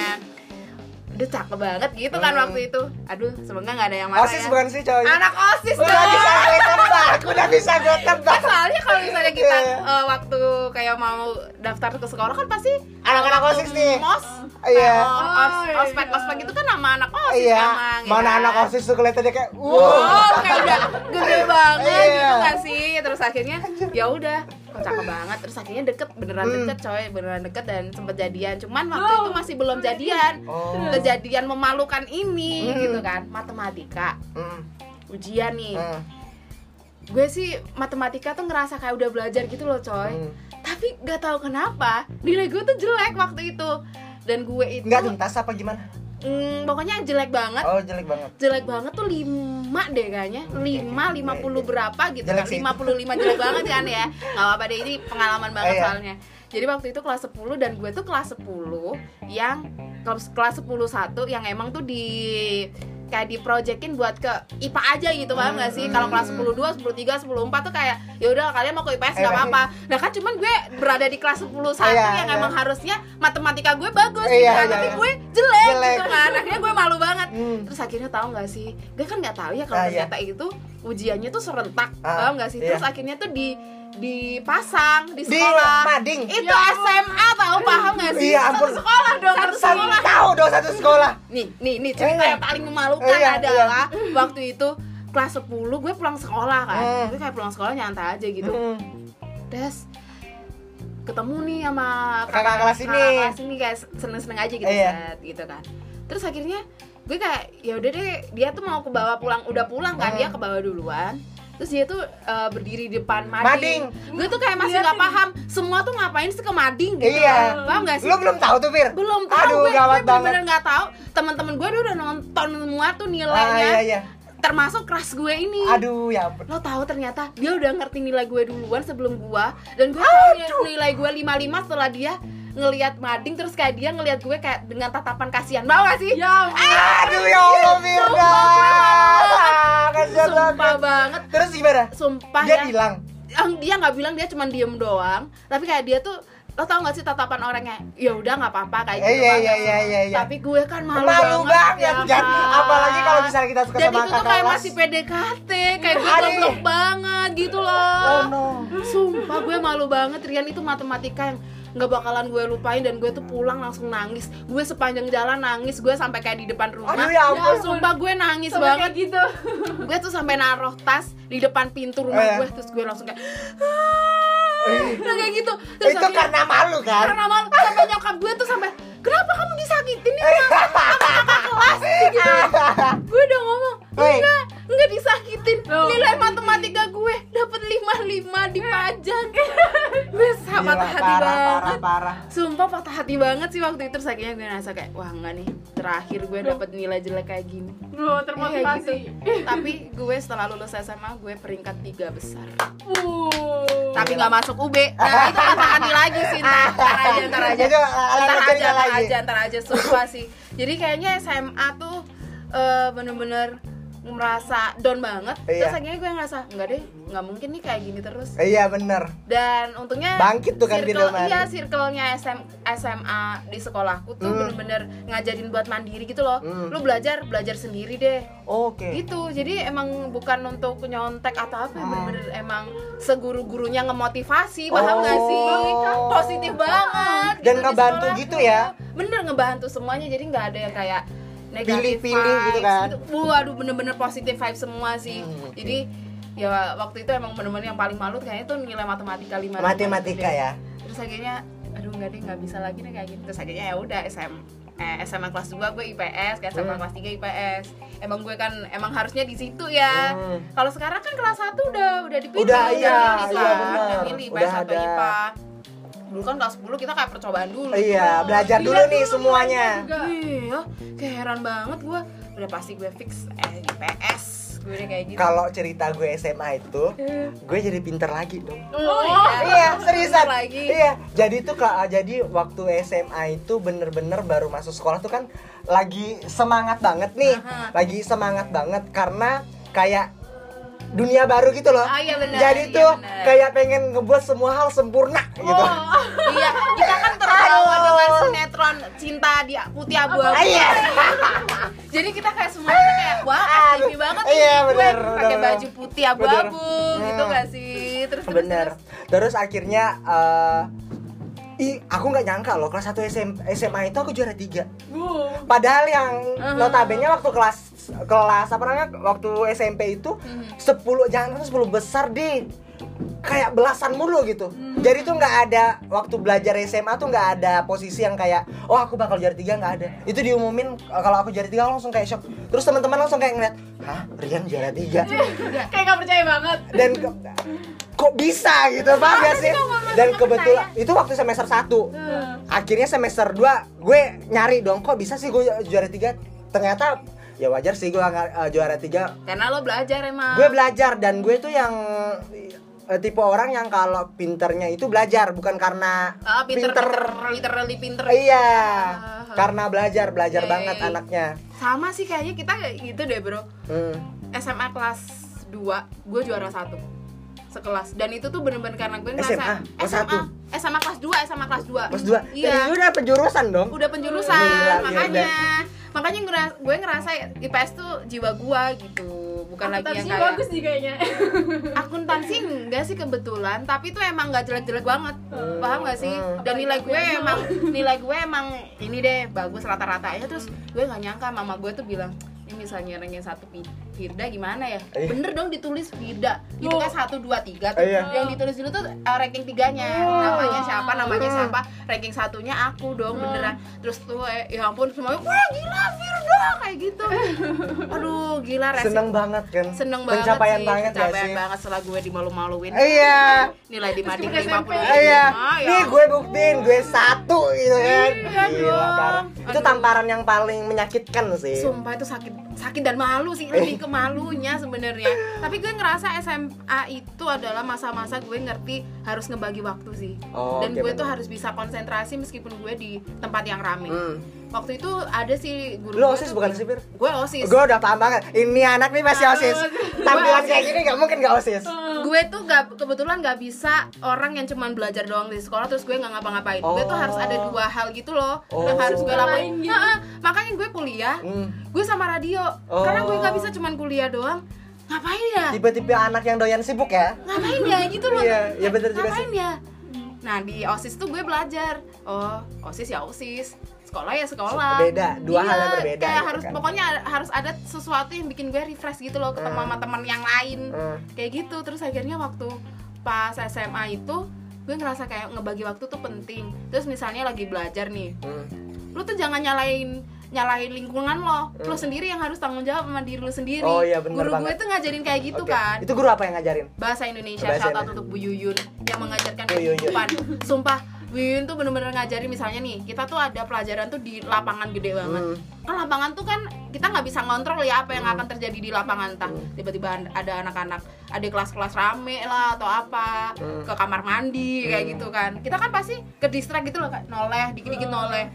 Udah cakep banget gitu kan
Hmm.
waktu itu. Aduh, semoga nggak ada yang marah
Osis
ya.
bukan sih coy.
Anak osis
Udah
dong.
bisa gue tebak, udah bisa gue tebak.
soalnya kalau misalnya kita
Iya.
eh, waktu kayak mau daftar ke sekolah kan pasti
Anak-anak
waktu
OSIS nih.
mos
Iya.
eh, os- os
Oh, iya.
ospek ospek itu kan nama anak osis
Iya.
emang ya
Mana
kan?
anak osis tuh kelihatannya kayak wow.
Wow, kayak udah gede banget
Iya.
gitu gak sih? Terus akhirnya ya udah, kok cakep banget. Terus akhirnya deket, beneran
Hmm.
deket coy, beneran deket dan sempet jadian. Cuman waktu
Wow.
itu masih belum jadian.
Oh.
Kejadian memalukan ini
Hmm.
gitu kan, matematika
Mm,
ujian nih.
mm,
Gue sih matematika tuh ngerasa kayak udah belajar gitu loh coy.
mm.
tapi gak tahu kenapa nilai gue tuh jelek waktu itu dan gue itu
Enggak tuntas apa gimana?
mm, pokoknya jelek banget
Oh, jelek banget.
jelek banget tuh 5 deh kayaknya 5,
oke.
50 berapa gitu
Jelek
kan
sih.
55 jelek banget kan ya Gak apa-apa deh ini pengalaman banget
Iya.
soalnya Jadi waktu itu kelas 10 dan gue tuh kelas 10 yang kelas, kelas 10 satu yang emang tuh di kayak diprojekin buat ke IPA aja gitu paham gak sih kalau
Hmm.
kelas 10 2, 10 3, 10 4 tuh kayak ya udah kalian mau ke IPS
Iya.
nggak apa-apa nah kan cuman gue berada di kelas 10 satu
Iya,
yang
iya.
emang harusnya matematika gue bagus
Iya,
gitu kan,
iya,
tapi
iya.
gue jelek,
Jelek.
gitu kan akhirnya gue malu banget
Hmm.
terus akhirnya tahu nggak sih gue kan nggak tahu ya kalau
Ah, iya.
ternyata itu ujiannya tuh serentak
Ah,
paham nggak sih terus
iya.
akhirnya tuh di dipasang di
Di
sekolah
mading.
itu SMA tahu paham nggak sih
Iya, ampun.
satu sekolah dong satu
Satu
sekolah
tahu dong satu sekolah.
nih nih nih cerita
Iya.
yang paling memalukan
Iya,
adalah waktu itu kelas 10 gue pulang sekolah kan
Hmm.
gue kayak pulang sekolah nyantai aja gitu
Mm.
Des ketemu nih sama
Kakak kelas ini.
kakak kelas ini kayak seneng-seneng aja gitu
Iya.
set, gitu kan terus akhirnya gue kayak ya udah deh dia tuh mau ke bawah pulang udah pulang kan
Hmm.
dia ke bawah duluan terus dia tuh eh, berdiri di depan
Mading.
mading, gue tuh kayak masih nggak paham semua tuh ngapain sih ke mading gitu
Iya.
paham gak sih
Lu belum tahu tuh, Fir?
belum tahu
Aduh,
gue, gue
gawat
bener-bener nggak tahu teman-teman gue udah nonton semua tuh
Ah,
nilainya
iya, iya.
termasuk kelas gue ini
Aduh, ya ampun.
lo tahu ternyata dia udah ngerti nilai gue duluan sebelum gua dan gue tahu nilai- nilai gue 55 setelah dia ngelihat mading terus kayak dia ngelihat gue kayak dengan tatapan kasihan mau gak sih
Ya ampun.
Aduh, ya Allah,
Iya,
Firda. Kasihan
sumpah
banget.
banget
Terus gimana?
sumpah
Dia
ya
bilang.
Yang dia nggak bilang dia cuma diem doang tapi kayak dia tuh lo tau gak sih tatapan orangnya ya udah nggak apa-apa kayak
Iya,
gitu
iya,
Bang."
iya, iya, iya, iya.
tapi gue kan malu,
Malu banget
ya
kan. Apalagi kalau
Kak.
misalnya kita suka
dan
sama
itu tuh
kakak
kayak
kelas.
masih PDKT kayak gue
Aduh.
goblok banget gitu loh
Oh no.
Sumpah gue malu banget Rian itu matematika yang nggak bakalan gue lupain dan gue tuh pulang langsung nangis gue sepanjang jalan nangis gue sampai kayak di depan rumah
Aduh, ya ampun.
sumpah gue nangis
Sampai
banget
kayak gitu.
gue tuh sampai naruh tas di depan pintu rumah
Eh.
gue terus gue langsung kayak udah kayak gitu terus
Eh, Itu
akhirnya-
karena malu kan?
karena malu sampai nyokap gue tuh sampai kenapa kamu disakitin ya kelas
Eh.
gitu gue udah ngomong
Hei.
enggak enggak disakitin
Loh.
nilai matematika gue dapat 55 di pajak gue
Gila,
sama patah hati
parah, parah,
banget
parah.
sumpah patah hati banget sih waktu itu terus akhirnya gue ngerasa kayak wah enggak nih terakhir gue dapat nilai jelek kayak gini gitu.
Loh, termotivasi.
Iya, tapi gue setelah lulus SMA gue peringkat tiga besar
Wuh.
tapi nggak masuk UB nah itu patah hati lagi sih ntar, ntar aja ntar aja
Itu, eh,
ntar
lanjut
aja
cerita
ntar
lagi.
aja ntar aja sumpah sih jadi kayaknya SMA tuh eh, bener-bener merasa down banget terus
Iya.
akhirnya gue ngerasa nggak deh nggak mungkin nih kayak gini terus
Iya bener.
dan untungnya
Bangkit tuh kan
circle-
Firman.
iya circle-nya SM, SMA di sekolahku tuh
Hmm.
bener-bener ngajarin buat mandiri gitu loh
Hmm.
lu belajar belajar sendiri deh
Oke. Ah.
gitu jadi emang bukan untuk nyontek atau apa ya, bener-bener emang seguru-gurunya ngemotivasi paham nggak sih
Oh.
positif banget
Dan
gitu di
ngebantu
sekolah.
gitu ya?
bener ngebantu semuanya jadi nggak ada yang kayak negatif
Pilih-pilih gitu kan?
waduh bener-bener positif vibe semua sih
Hmm.
jadi ya waktu itu emang bener-bener yang paling malu kayaknya tuh nilai matematika lima gitu
Matematika ya.
terus akhirnya aduh nggak deh nggak bisa lagi deh kayak gini terus akhirnya ya udah SM eh, SMA kelas 2 gue IPS ke SMA
Hmm.
kelas 3 IPS emang gue kan emang harusnya di situ ya
Hmm.
kalau sekarang kan kelas 1 udah udah dipilih
Udah, iya, iya,
milih kan.
benar.
udah milih IPS
Udah
atau
ada.
IPA dulu kan kelas 10 kita kayak percobaan dulu
Iya, belajar
Lihat
dulu nih semuanya.
nilainya juga.
iya kayak heran banget gue udah pasti gue fix eh, IPS gue udah kayak gitu.
Kalau cerita gue SMA itu, gue jadi pinter lagi dong.
Oh,
iya seriusan
Pinter lagi.
iya jadi tuh kak jadi waktu SMA itu bener-bener baru masuk sekolah tuh kan lagi semangat banget nih
Aha.
lagi semangat banget karena kayak dunia baru gitu loh
Ah, iya benar,
jadi
iya
tuh
benar.
kayak pengen ngebuat semua hal sempurna gitu
Iya, kita kan terbawa dengan sinetron cinta di putih
Ah,
abu-abu.
iya
Jadi kita kayak semuanya tuh kayak wah aktivis banget nih
Iya,
gue
bener,
pakai
bener.
baju putih abu-abu
Bener.
gitu
Hmm.
gak sih? Terus terus,
bener terus akhirnya eh, ih aku nggak nyangka loh kelas 1 SM SMA itu aku juara tiga
Wuh.
Padahal yang
Uh-huh.
notabene waktu kelas kelas apa namanya waktu SMP itu
Hmm.
10 jangan kan 10 besar deh kayak belasan mulu gitu.
Hmm.
Jadi tuh nggak ada waktu belajar SMA tuh nggak ada posisi yang kayak oh aku bakal juara tiga nggak ada. Itu diumumin eh, kalau aku juara tiga aku langsung kayak shock. Terus teman-teman langsung kayak ngeliat, hah Rian juara tiga
Kayak gak percaya banget.
dan ke- kok bisa gitu paham gak sih? Dan kebetulan itu waktu semester 1
Hmm.
Akhirnya semester 2 gue nyari dong kok bisa sih gue juara 3 Ternyata ya wajar sih gue nggak, eh, juara 3
Karena lo belajar emang.
Gue belajar dan gue tuh yang eh, tipe orang yang kalau pinternya itu belajar bukan karena
Ah, pinter, pinter, literally pinter.
Iya,
Ah. Iya,
karena belajar, belajar
Oke.
banget anaknya.
Sama sih kayaknya kita kayak gitu deh, Bro.
Hmm.
SMA kelas 2 gue juara satu sekelas dan itu tuh bener-bener karena gue ngerasa
SMA, kelas
SMA,
satu.
SMA kelas 2 SMA kelas 2
Terus dua,
iya
Jadi udah penjurusan dong.
udah penjurusan
Gila, gila.
makanya makanya ngera- gue ngerasa IPS tuh jiwa gue gitu bukan lagi yang
Akuntansi
kayak
bagus nih kayaknya.
akuntansi enggak sih kebetulan tapi tuh emang nggak jelek-jelek banget paham gak sih
Hmm.
dan nilai gue emang nilai gue emang ini deh bagus rata-ratanya terus gue nggak nyangka mama gue tuh bilang ini misalnya ranking satu Pi- Firda gimana ya?
Iya.
Bener dong ditulis Firda Itu kan satu, dua, tiga tuh
Iya.
Yang ditulis dulu tuh eh, ranking tiganya Namanya siapa, namanya siapa Ranking satunya aku dong beneran Terus tuh eh, ya ampun semuanya Wah gila Firda Kayak gitu Aduh gila resip
Seneng banget kan.
seneng banget
Pencapaian
sih,
banget gak
pencapaian
sih?
banget setelah gue dimalu-maluin
Iya.
nilai di mading
Terus ke
lima puluh
SMP.
Iya,
ya
nih gue buktiin gue satu gitu kan. Gila,
dong.
parah. Itu
Aduh.
tamparan yang paling menyakitkan sih.
sumpah itu sakit sakit dan malu
Eh.
sih lebih ke malunya sebenarnya tapi gue ngerasa SMA itu adalah masa-masa gue ngerti harus ngebagi waktu sih
Oh,
dan
oke,
gue tuh
bener.
harus bisa konsentrasi meskipun gue di tempat yang rame
Hmm.
waktu itu ada sih guru
Lu
gue
OSIS
tuh-
bukan sipir?
gue osis
Gue udah paham banget. Ini anak nih masih osis. Tampilan kayak gini gak mungkin gak osis.
gue tuh gak, kebetulan gak bisa orang yang cuman belajar doang di sekolah terus gue nggak ngapa-ngapain gue tuh
Oh.
harus ada dua hal gitu loh
Oh.
yang harus gue lakuin
Lain gitu.
Nah, makanya gue kuliah
Hmm.
gue sama radio
Oh.
karena gue nggak bisa cuman kuliah doang ngapain ya
Tipe-tipe anak yang doyan sibuk ya.
ngapain ya gitu loh
Iya, iya bener juga
ngapain ya nah di osis tuh gue belajar oh osis ya osis sekolah ya sekolah Iya,
Beda, dua hal yang berbeda
kayak
gitu
harus
kan.
pokoknya ada- harus ada sesuatu yang bikin gue refresh gitu loh ketemu
Ah.
sama teman yang lain
Hmm.
kayak gitu terus akhirnya waktu pas SMA itu gue ngerasa kayak ngebagi waktu tuh penting terus misalnya lagi belajar nih
Hmm.
lu tuh jangan nyalain nyalain lingkungan lo lu sendiri yang harus tanggung jawab sama diri lu sendiri
Hmm. Oh, iya, bener
guru gue
banget.
tuh ngajarin kayak gitu
Oke.
kan
Itu guru apa yang ngajarin?
bahasa Indonesia
Bahasa
shout out
Indonesia.
untuk Bu Yuyun yang mengajarkan
Bu Yuyun.
kehidupan sumpah Bu Yuyun tuh bener-bener ngajarin misalnya nih kita tuh ada pelajaran tuh di lapangan gede banget
Hmm.
kan lapangan tuh kan kita nggak bisa ngontrol ya apa yang akan terjadi di lapangan entah
Hmm.
tiba-tiba an- ada anak-anak ada kelas-kelas rame lah atau apa
Hmm.
ke kamar mandi kayak gitu kan kita kan pasti ke distract gitu loh kan noleh dikit-dikit
Hmm.
noleh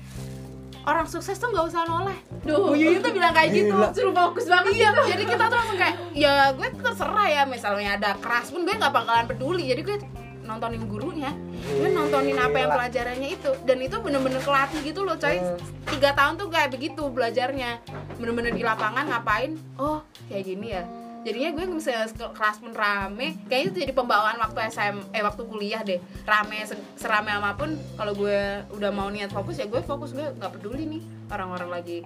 orang sukses tuh nggak usah noleh Bu Yuyun tuh bilang kayak gitu
Gila.
Suruh fokus banget gitu.
iya jadi kita tuh langsung kayak ya gue terserah ya misalnya ada keras pun gue nggak bakalan peduli jadi gue nontonin gurunya gue nontonin apa yang
Gila.
pelajarannya itu dan itu bener-bener kelatih gitu loh coy tiga tahun tuh kayak begitu belajarnya bener-bener di lapangan ngapain oh kayak gini ya jadinya gue misalnya ke- kelas pun rame kayaknya itu jadi pembawaan waktu SM eh waktu kuliah deh rame se- serame apapun kalau gue udah mau niat fokus ya gue fokus gue nggak peduli nih orang-orang lagi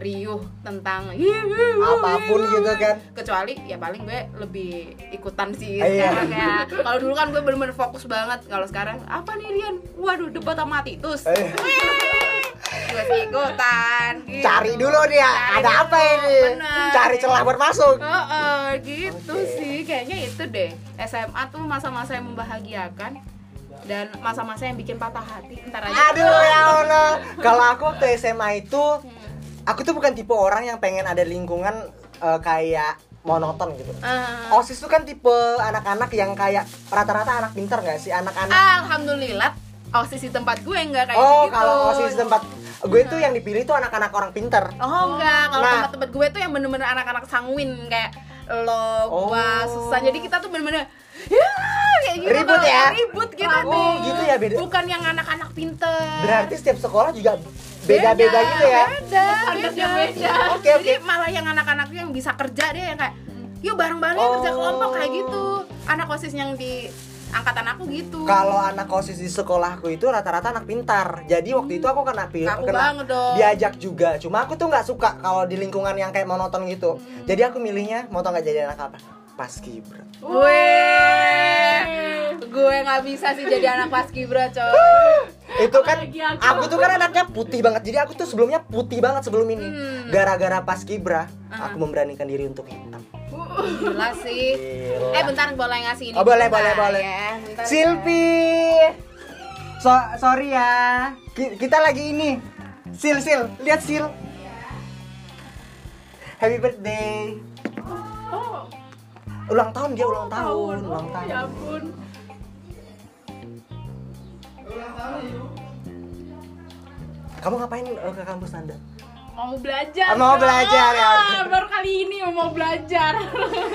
riuh tentang "Iya,
Apapun gitu kan.
kecuali ya paling gue lebih ikutan sih
Iya.
sekarang ya kalau dulu kan gue bener-bener fokus banget kalau sekarang apa nih Rian waduh debat sama Titus
Eh.
Wih, gue sih ikutan gitu.
Cari dulu dia,
Cari
ada apa
dulu,
ini?
bener.
Cari celah buat masuk.
Oh, oh, gitu sih kayaknya itu deh SMA tuh masa-masa yang membahagiakan dan masa-masa yang bikin patah hati ntar aja
Aduh ya Allah. Kalau aku waktu SMA itu aku tuh bukan tipe orang yang pengen ada lingkungan eh, kayak monoton gitu
Ah.
osis tuh kan tipe anak-anak yang kayak rata-rata anak pinter nggak sih anak-anak
Alhamdulillah osis di tempat gue nggak kayak
oh
gitu.
kalau osis tempat gue tuh yang dipilih tuh anak-anak orang pinter
Oh enggak, kalau
Nah.
tempat-tempat gue tuh yang bener-bener anak-anak sanguin kayak lo, gue,
Oh.
susah. Jadi kita tuh bener-bener ya, kayak gitu
Ribut
kalau-
ya?
ribut gitu
Oh,
nih.
gitu ya, beda.
Bukan yang anak-anak pinter.
berarti setiap sekolah juga beda-beda gitu ya
Beda, beda.
Standarnya beda.
Oke, oke.
Jadi malah yang anak-anak yang bisa kerja deh yang kayak yuk bareng-bareng
Oh.
kerja kelompok kayak gitu. Anak osis yang di angkatan aku gitu.
kalau anak osis di sekolahku itu rata-rata anak pintar jadi waktu itu aku kena pil
Kaku
kena
banget dong.
diajak juga cuma aku tuh nggak suka kalau di lingkungan yang kayak monoton gitu
Hmm.
jadi aku milihnya mau tau nggak jadi anak apa paskibra
Weh, gue nggak bisa sih jadi anak paskibra coy.
itu kan
Apalagi aku.
aku tuh kan anaknya putih banget jadi aku tuh sebelumnya putih banget sebelum ini
Hmm. Uh-huh.
gara-gara paskibra aku memberanikan diri untuk hitam
Gila sih.
Gila.
Eh bentar boleh ngasih ini.
Oh, boleh, boleh,
bentar
boleh.
ya, bentar
Silvi so- sorry ya Ki- kita lagi ini sil sil lihat sil happy birthday
Oh,
ulang tahun dia ulang tahun
tahun.
ulang
Oh,
tahun
ya ampun.
kamu ngapain eh, ke kampus anda
Mau belajar.
mau belajar ya
Ah, baru kali ini mau belajar.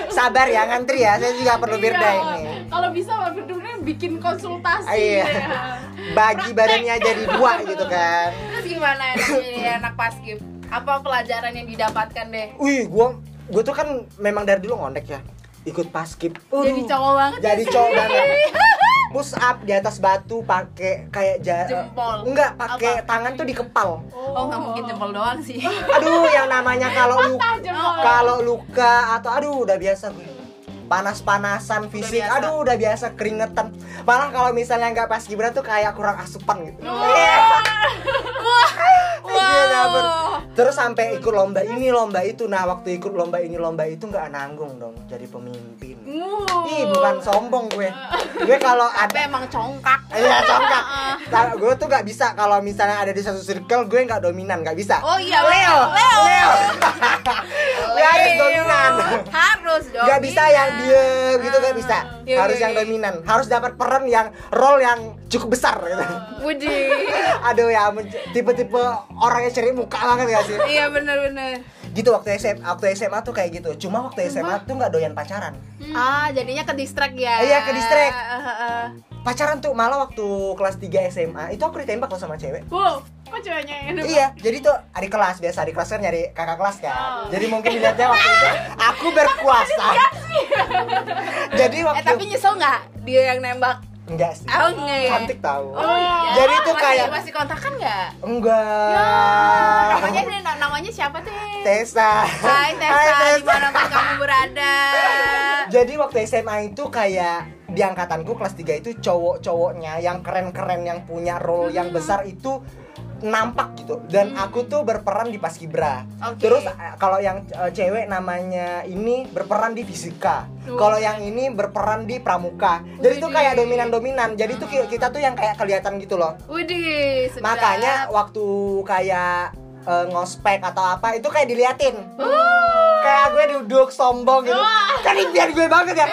sabar ya ngantri ya saya juga perlu
Iya.
birthday ini
Kalau bisa birdai bikin konsultasi. ya.
Ah, iya. bagi badannya jadi dua gitu kan
ya. Terus gimana enak jadi anak paskib? Apa pelajaran yang didapatkan deh?
Wih, gua gua tuh kan memang dari dulu ngondek ya. Ikut paskib. Uh,
Jadi cowok banget.
Jadi cowok banget. Push up di atas batu pakai kayak ja-
Jempol.
Enggak, pakai tangan tuh dikepal.
Oh nggak mungkin jempol doang sih.
Aduh, yang namanya kalau luka,
jempol.
kalau luka atau aduh udah biasa gue. Panas-panasan fisik,
biasa.
aduh udah biasa keringetan. Malah kalau misalnya nggak pas gibran tuh kayak kurang asupan gitu. Iya, dapet. Terus sampai ikut lomba ini lomba itu. Nah, waktu ikut lomba ini lomba itu nggak nanggung dong jadi pemimpin. Ih, bukan sombong gue. Gue kalau
Tapi
ada
emang congkak.
Iya, congkak. Kalau gue tuh nggak bisa kalau misalnya ada di satu circle gue nggak dominan, nggak bisa.
Oh iya, Leo, Leo,
Leo. Gue harus
Leo.
dominan.
Iya, Harus dong.
Gak bisa yang diem gitu gak bisa.
Iya,
Harus
iya,
yang
iya.
dominan. Harus dapat peran yang role yang cukup besar gitu.
Ah. Budi.
Aduh ya, ampun, tipe-tipe orang yang cari muka banget gak sih?
Iya benar-benar.
Gitu waktu SMA, waktu SMA tuh kayak gitu. Cuma waktu SMA tuh nggak doyan pacaran.
Ah, jadinya ke distract ya.
Hmm. Iya, ke distract.
Ah, ah, ah.
Pacaran tuh malah waktu kelas 3 SMA itu aku ditembak loh sama cewek.
Wow, kok ceweknya yang nembak?
Iya, jadi tuh adik kelas biasa adik kelas kan nyari kakak kelas
Oh.
kan. Jadi mungkin dilihatnya waktu itu aku berkuasa. jadi waktu
Eh tapi nyesel nggak dia yang nembak?
enggak sih.
Oh enggak ya.
Cantik tahu.
Oh iya.
Jadi tuh
Masih-
kayak-
masih kontakan nggak?
Enggak.
Namanya namanya siapa teh?
Tessa.
Hai Tessa,
Hai,
di mana pun kamu berada?
Jadi waktu SMA itu kayak di angkatanku kelas 3 itu cowok-cowoknya yang keren-keren yang punya role yang besar itu nampak gitu dan aku tuh berperan di paskibra.
Oke.
Terus eh, kalau yang eh, cewek namanya ini berperan di fisika. Kalau yang ini berperan di pramuka. Jadi tuh kayak dominan-dominan. Jadi tuh ki- kita tuh yang kayak kelihatan gitu loh.
Widih, sedap.
Makanya waktu kayak eh, ngospek atau apa itu kayak diliatin. Kayak gue duduk sombong gitu. Kan impian gue banget ya.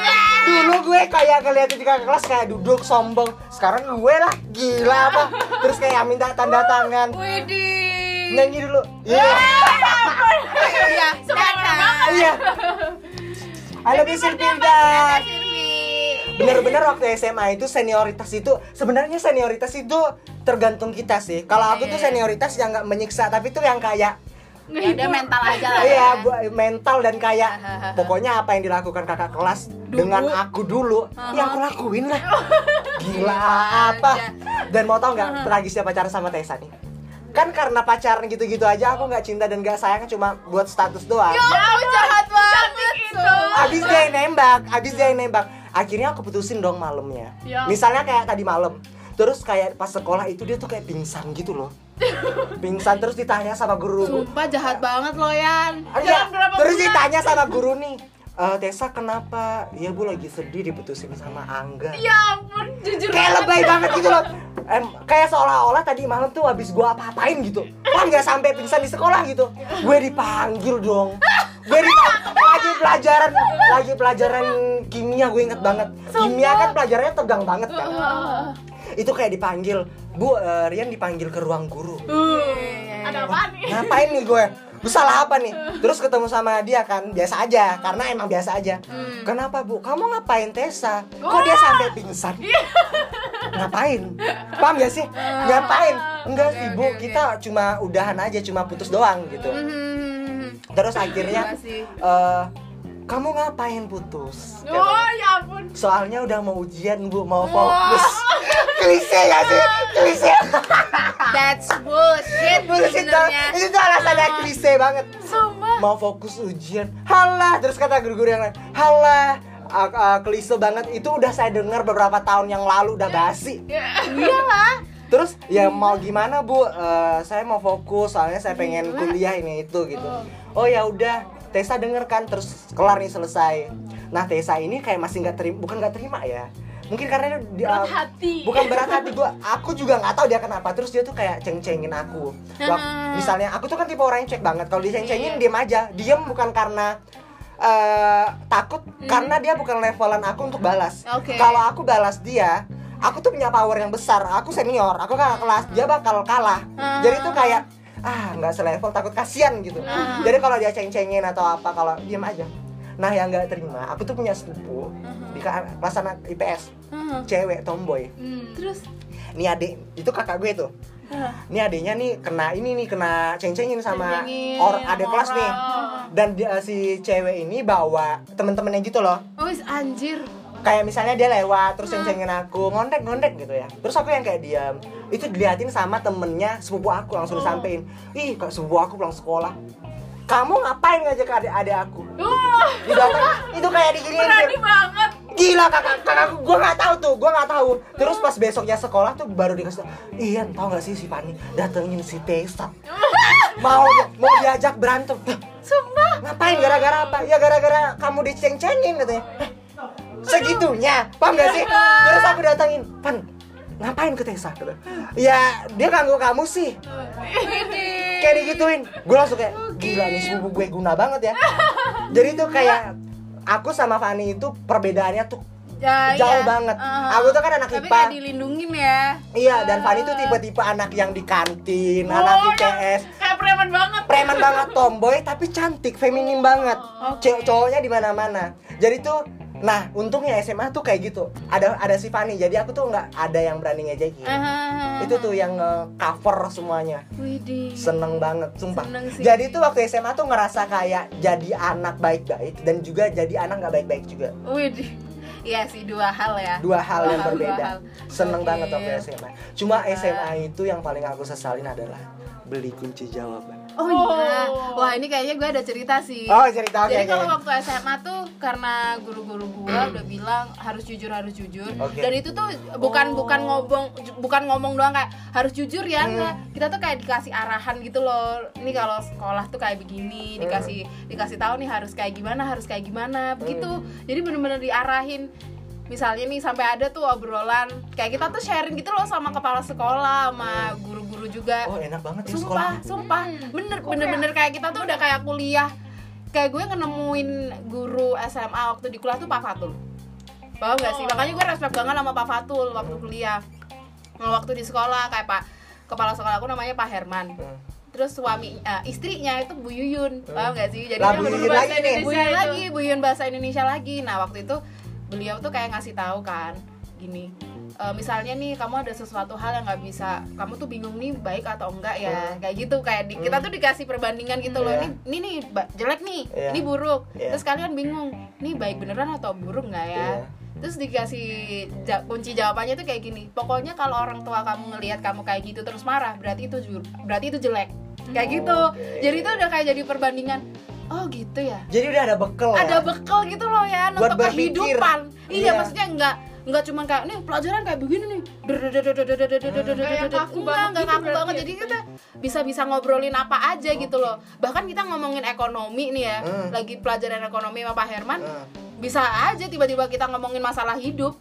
Dulu gue kayak ngeliatin di kakak kelas kayak duduk sombong. Sekarang gue lah gila apa. Terus kayak minta tanda tangan.
Widih.
Nyanyi dulu. Iya.
Iya, datang.
Iya. I love you Silvinda.
gitu.
Bener-bener waktu SMA itu senioritas itu sebenarnya senioritas itu tergantung kita sih. Kalau aku tuh senioritas yang nggak menyiksa tapi tuh yang kayak
Ya udah mental aja lah.
Iya,
ya.
bu- mental dan kayak pokoknya apa yang dilakukan kakak kelas dengan aku dulu, ya aku lakuin lah. Gila
Iya,
apa? Dan mau tau nggak tragisnya pacaran sama Tessa nih? Kan karena pacaran gitu-gitu aja aku nggak cinta dan nggak sayang cuma buat status doang.
Ya ampun, jahat banget tuh.
Abis dia yang nembak, abis dia yang nembak. Akhirnya aku putusin dong malamnya.
Ya.
Misalnya kayak tadi malam. Terus kayak pas sekolah itu dia tuh kayak pingsan gitu loh. Pingsan terus ditanya sama guru.
Sumpah jahat banget lo Yan.
Ah, iya.
Dalam berapa
Terus
bulan?
ditanya sama guru nih, "Eh, Tessa kenapa? Iya bu lagi sedih diputusin sama Angga.
Ya ampun, jujur.
Kayak lebay banget gitu loh. Em, kayak seolah-olah tadi malam tuh habis gua apa-apain gitu. Kan nggak sampai pingsan di sekolah gitu. Gue dipanggil dong. dari lagi pelajaran lagi pelajaran kimia gue inget banget kimia kan pelajarannya tegang banget kan itu kayak dipanggil bu eh, Rian dipanggil ke ruang guru
Hmm.
Ada apa nih?
ngapain nih gue gue salah apa nih terus ketemu sama dia kan biasa aja karena emang biasa aja
Hmm.
kenapa bu kamu ngapain Tessa kok dia sampai pingsan
Iya.
ngapain paham gak sih
Ah,
ngapain enggak sih bu kita cuma udahan aja cuma putus doang gitu
Hmm.
terus akhirnya eh, kamu ngapain putus Katanya.
Oh ya ampun.
soalnya udah mau ujian bu mau fokus klise gak sih klise
That's bullshit
bullshit dong
Iya, sebenarnya.
itu tuh alasannya klise banget
Sumpah.
mau fokus ujian halah terus kata guru-guru yang lain halah ah, ah, klise banget itu udah saya dengar beberapa tahun yang lalu udah basi
Iyalah.
terus ya mau gimana bu Eh, saya mau fokus soalnya saya pengen kuliah ini itu gitu oh ya udah Tessa denger kan terus kelar nih selesai nah Tessa ini kayak masih nggak terima bukan nggak terima ya mungkin karena dia eh,
Berat hati.
Ya. bukan berat hati gua aku juga nggak tahu dia kenapa terus dia tuh kayak ceng-cengin aku Wak- misalnya aku tuh kan tipe orang yang cuek banget kalau diceng-cengin diem aja diem bukan karena eh, takut karena dia bukan levelan aku untuk balas
Oke.
kalau aku balas dia aku tuh punya power yang besar aku senior aku kakak kelas dia bakal kalah jadi tuh kayak ah nggak selevel takut kasihan gitu jadi kalau dia ceng-cengin atau apa kalau diem aja nah yang nggak terima aku tuh punya sepupu di ka- kelas anak IPS
Hmm.
cewek tomboy
Terus
ini adik itu kakak gue tuh ini adiknya nih kena ini nih kena ceng-cengin sama
Ceng-cengin,
or adik kelas nih
moral.
dan dia, si cewek ini bawa temen-temennya gitu loh
Oh, is anjir.
kayak misalnya dia lewat terus
Hmm.
ceng-cengin aku ngondek ngondek gitu ya terus aku yang kayak diam itu diliatin sama temennya sepupu aku langsung
Hmm.
disampein ih kak sepupu aku pulang sekolah kamu ngapain ngajak adik-adik aku
Wah,
Didatang- itu kayak diginiin Fir.
berani banget.
gila kakak kakakku gue nggak tahu tuh gue nggak tahu terus pas besoknya sekolah tuh baru dikasih tau, Ian tau gak sih si Fani datengin si Tessa mau mau diajak berantem Hah,
Sumpah.
ngapain gara-gara apa ya gara-gara kamu diceng-cengin katanya Hah, segitunya paham gak sih terus aku datangin Pan ngapain ke Tessa Kata, ya dia ganggu kamu sih
Eh.
kayak digituin gue langsung kayak gila nih sepupu gue guna banget ya jadi tuh kayak aku sama Fani itu perbedaannya tuh
Ya,
jauh
iya.
banget
Uh-huh.
aku tuh kan anak
Tapi
IPA
kayak dilindungin ya.
iya dan Fani tuh tipe-tipe anak yang di kantin anak IPS
Kayak preman banget.
preman banget tomboy tapi cantik feminim banget Cewek cowoknya di mana mana jadi tuh nah untungnya SMA tuh kayak gitu ada ada si Fani jadi aku tuh nggak ada yang berani ngejekin
Ah.
itu tuh yang eh, cover semuanya
Widih.
seneng banget sumpah
Seneng sih.
jadi tuh waktu SMA tuh ngerasa kayak jadi anak baik-baik dan juga jadi anak nggak baik-baik juga
Widih. Iya sih dua hal ya.
dua hal
Dua
yang
hal,
berbeda
dua hal. Iya.
seneng
Oke.
banget waktu SMA cuma SMA itu yang paling aku sesalin adalah beli kunci jawaban
Oh iya. Wah, ini kayaknya gue ada cerita sih.
oh cerita oke
Iya. Jadi
oke.
kalau waktu SMA tuh karena guru-guru gua udah bilang harus jujur harus jujur
Oke. Oh.
dan itu tuh bukan bukan ngomong ju- bukan ngomong doang kayak harus jujur
Hmm.
ya enggak kita tuh kayak dikasih arahan gitu loh ini kalau sekolah tuh kayak begini
Hmm.
dikasih dikasih tahu nih harus kayak gimana harus kayak gimana begitu jadi bener-bener diarahin misalnya nih sampai ada tuh obrolan kayak kita tuh sharing gitu loh sama kepala sekolah sama guru-guru juga
Hmm. oh enak banget ya sekolah
sumpah sumpah bener bener bener kayak kita tuh udah kayak kuliah kayak gue nemuin guru SMA waktu di kuliah tuh Pak Fatul paham gak sih makanya gue respect banget sama Pak Fatul waktu kuliah Nah, waktu di sekolah kayak Pak kepala sekolah aku namanya Pak Herman
Hmm.
terus suami eh, istrinya itu Bu Yuyun paham gak sih jadi
Lah,
dia
Bu
bener-
Hmm. Yuyun lagi nih.
Bu Yuyun lagi Bu Yuyun bahasa Indonesia lagi nah waktu itu beliau tuh kayak ngasih tahu kan gini e, misalnya nih kamu ada sesuatu hal yang nggak bisa kamu tuh bingung nih baik atau enggak ya kayak gitu kayak di- kita tuh dikasih perbandingan gitu loh
Hmm. Iya.
ini ini nih ba- jelek nih
Iya.
ini buruk
Iya.
terus kalian bingung nih baik beneran atau buruk nggak ya
Iya.
terus dikasih ja- kunci jawabannya tuh kayak gini pokoknya kalau orang tua kamu ngelihat kamu kayak gitu terus marah berarti itu ju- berarti itu jelek kayak gitu
Oke.
jadi itu udah kayak jadi perbandingan oh gitu ya
jadi udah ada bekal ya?
ada bekal gitu loh ya
Buat
untuk
berpikir.
kehidupan iya
Iya.
maksudnya enggak enggak cuma kayak nih pelajaran kayak begini nih Drr, drr, drr, drr, drr, drr, drr, drr,
Kayak
drr, drr.
kaku
enggak
banget
enggak
gitu
kaku
berarti
banget
ya.
jadi kita bisa bisa ngobrolin apa aja gitu loh bahkan kita ngomongin ekonomi nih ya
Hmm.
lagi pelajaran ekonomi sama Pak Herman
Hmm.
bisa aja tiba-tiba kita ngomongin masalah hidup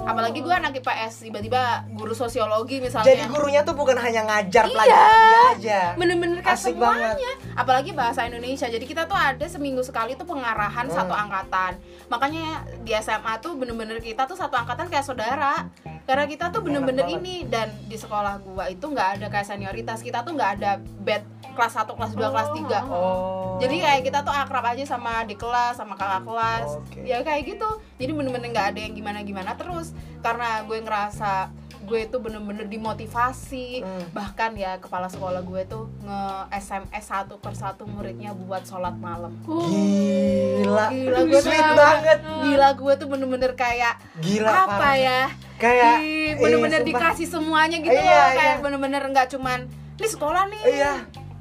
apalagi gue anak IPS tiba-tiba guru sosiologi misalnya
Jadi gurunya tuh bukan hanya ngajar
Iya.
pelajaran dia aja.
bener-bener kayak
Asik
semuanya apalagi bahasa Indonesia jadi kita tuh ada seminggu sekali tuh pengarahan
Hmm.
satu angkatan makanya di SMA tuh bener-bener kita tuh satu angkatan kayak saudara karena kita tuh bener-bener
Enak banget.
ini dan di sekolah gua itu nggak ada kayak senioritas kita tuh nggak ada bed kelas 1, kelas 2, kelas 3
Oh.
jadi kayak kita tuh akrab aja sama di kelas sama kakak kelas
Hmm, Oke.
ya kayak gitu jadi bener-bener nggak ada yang gimana-gimana terus karena gue ngerasa gue tuh bener-bener dimotivasi
Hmm.
bahkan ya kepala sekolah gue tuh nge SMS satu persatu muridnya buat sholat malam
Uh.
gila.
Gila, gue
Sweet
tuh-
banget.
gila gue tuh bener-bener kayak
Gila.
apa
parah.
ya
Kayak eh,
Ih, bener-bener
sumpah.
dikasih semuanya gitu
Iya,
loh
iya.
kayak bener-bener nggak cuman ini sekolah nih
Iya.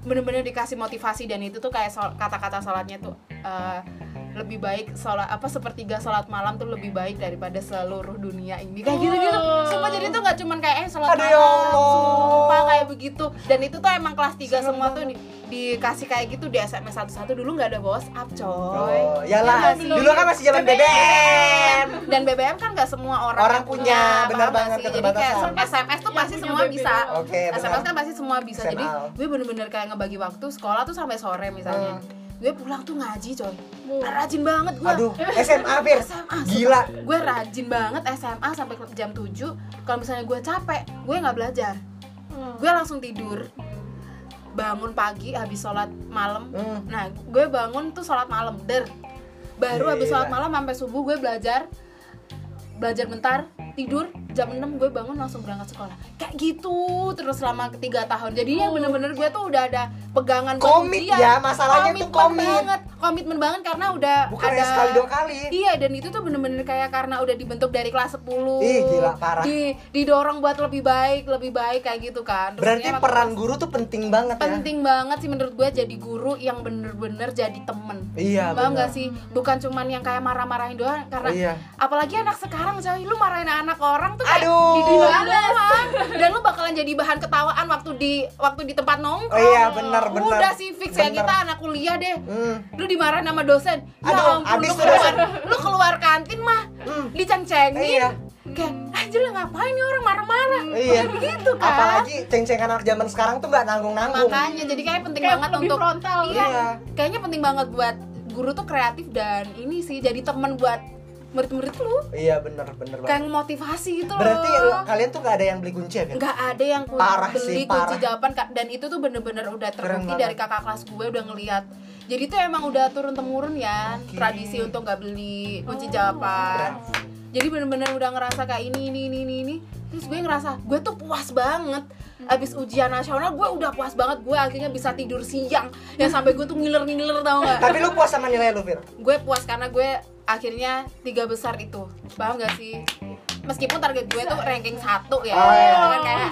bener-bener dikasih motivasi dan itu tuh kayak sol- kata-kata salatnya tuh eh, lebih baik salat apa sepertiga salat malam tuh lebih baik daripada seluruh dunia ini kayak gitu gitu sumpah jadi tuh nggak cuman kayak eh
Iya.
salat
Aduh,
malam
ya Allah.
sumpah kayak begitu dan itu tuh emang kelas 3 semua tuh di- dikasih kayak gitu di SMS satu-satu dulu nggak ada WhatsApp coy
Oh,
Iya
iyalah.
nggak sih?
Dulu kan masih zaman BBM.
dan BBM kan nggak semua orang
Orang punya, benar
paham nggak
banget,
sih? jadi
keterbatasan.
kayak SMS tuh
Yang
pasti
punya
semua
BBM.
bisa
Oke,
SMS
benar.
kan pasti semua bisa jadi
Senal.
gue bener-bener kayak ngebagi waktu sekolah tuh sampai sore misalnya gue pulang tuh ngaji coy rajin banget gue
Hmm. Aduh, SMA Fir. Gila.
gue rajin banget SMA sampai ke- jam 7 kalau misalnya gue capek gue nggak belajar gue langsung tidur bangun pagi habis sholat malam
Hmm.
nah gue bangun tuh sholat malam der baru habis
Gila.
sholat malam sampai subuh gue belajar belajar bentar tidur jam 6 gue bangun langsung berangkat sekolah kayak gitu terus selama ketiga tahun jadi yang bener-bener gue tuh udah ada pegangan buat
Komit
ujian.
ya, masalahnya tuh
Komitmen
komit.
banget komitmen banget karena udah
Bukan
ada
hanya sekali dua kali.
Iya dan itu tuh bener-bener kayak karena udah dibentuk dari kelas 10
Ih, gila, parah.
Di, Didorong buat lebih baik, lebih baik kayak gitu kan Terus
Berarti
ternyata
peran ya? guru tuh penting banget ya.
Penting banget sih menurut gue jadi guru yang bener-bener jadi temen
Iya,
Paham
benar.
gak sih? Bukan cuman yang kayak marah-marahin doang Karena
Iya.
apalagi anak sekarang coy Lu marahin anak orang tuh kayak
Aduh.
dididik doang. Dan lu bakalan jadi bahan ketawaan waktu di waktu di tempat nongkrong
Oh iya, benar, benar.
Udah sih fix ya
Benar.
kita anak kuliah deh
Hmm.
lu dimarahin sama dosen ya
Aduh,
ampun
abis
lu
tuh
keluar lu keluar kantin mah
Hmm.
diceng-cengin
Iya.
kayak anjir lah ngapain nih orang marah-marah
Iya.
gitu kan
Apalagi ceng-cengan anak zaman sekarang tuh nggak nanggung-nanggung.
makanya jadi kayak penting
Kayak
banget
lebih
untuk
frontal.
iya
Iya.
kayaknya penting banget buat guru tuh kreatif dan ini sih jadi teman buat murid-murid lu
Iya, bener bener banget.
kayak motivasi gitu loh
Berarti ya, lo- kalian tuh nggak ada yang beli kunci ya? Fir?
nggak ada yang ku-
Parah
beli
sih,
kunci
parah.
jawaban Kak. dan itu tuh bener-bener udah
Keren
terbukti
banget.
dari kakak kelas gue udah ngeliat jadi tuh emang udah turun temurun ya
Oke.
tradisi untuk nggak beli kunci jawaban jadi bener-bener udah ngerasa kayak ini ini ini ini ini terus gue ngerasa gue tuh puas banget abis ujian nasional gue udah puas banget gue akhirnya bisa tidur siang yang sampai gue tuh ngiler-ngiler tau gak
Tapi lu puas sama nilai lu, Fir?
gue puas karena gue akhirnya tiga besar itu paham gak sih meskipun target gue tuh ranking satu ya
Oh, iya.
Kan kayak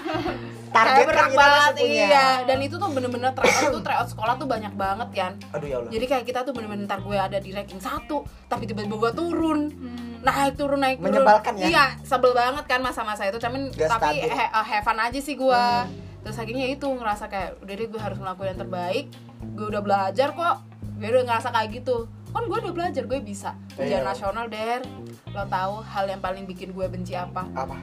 Target
kayak
kan
berat
kita
banget
masih punya.
iya dan itu tuh bener-bener tryout tuh tryout sekolah tuh banyak banget kan
Aduh ya Allah.
jadi kayak kita tuh bener-bener ntar gue ada di ranking satu tapi tiba-tiba gue turun
Hmm.
naik Nah, turun naik turun
Menyebalkan ya?
iya sebel banget kan masa-masa itu cuman
Gak
tapi
stabil. Hmm.
he- have fun aja sih gue terus akhirnya itu ngerasa kayak udah deh gue harus ngelakuin yang terbaik gue udah belajar kok gue udah ngerasa kayak gitu kan gue udah belajar gue bisa
Iya.
ujian nasional der lo tahu hal yang paling bikin gue benci apa
Apa?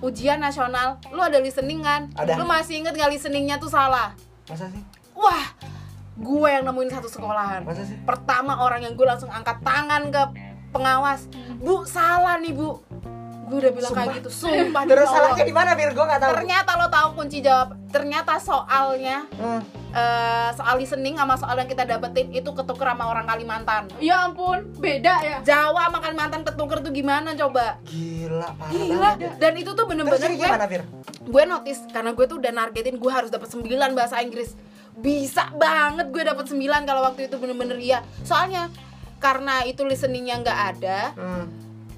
ujian nasional lu ada listening kan
Ada.
lu masih inget gak listeningnya tuh salah
Masa sih?
wah gue yang nemuin satu sekolahan
Masa sih?
pertama orang yang gue langsung angkat tangan ke pengawas bu salah nih bu gue udah bilang kayak gitu sumpah demi
Terus gitu.
Allah.
salahnya di mana, Fir? Gua nggak tahu.
ternyata lo tahu kunci jawab ternyata soalnya
Hmm.
eh, soal listening sama soal yang kita dapetin itu ketuker sama orang Kalimantan
Ya ampun, beda ya.
Jawa sama Kalimantan ketuker tuh gimana coba
Gila, parah
gila
banget.
dan itu tuh
Terus
bener-bener
jadi
gue
gimana, Fir?
gue notice karena gue tuh udah nargetin gue harus dapat 9 bahasa Inggris bisa banget gue dapat 9 kalau waktu itu bener-bener iya soalnya karena itu listeningnya nggak ada
Hmm.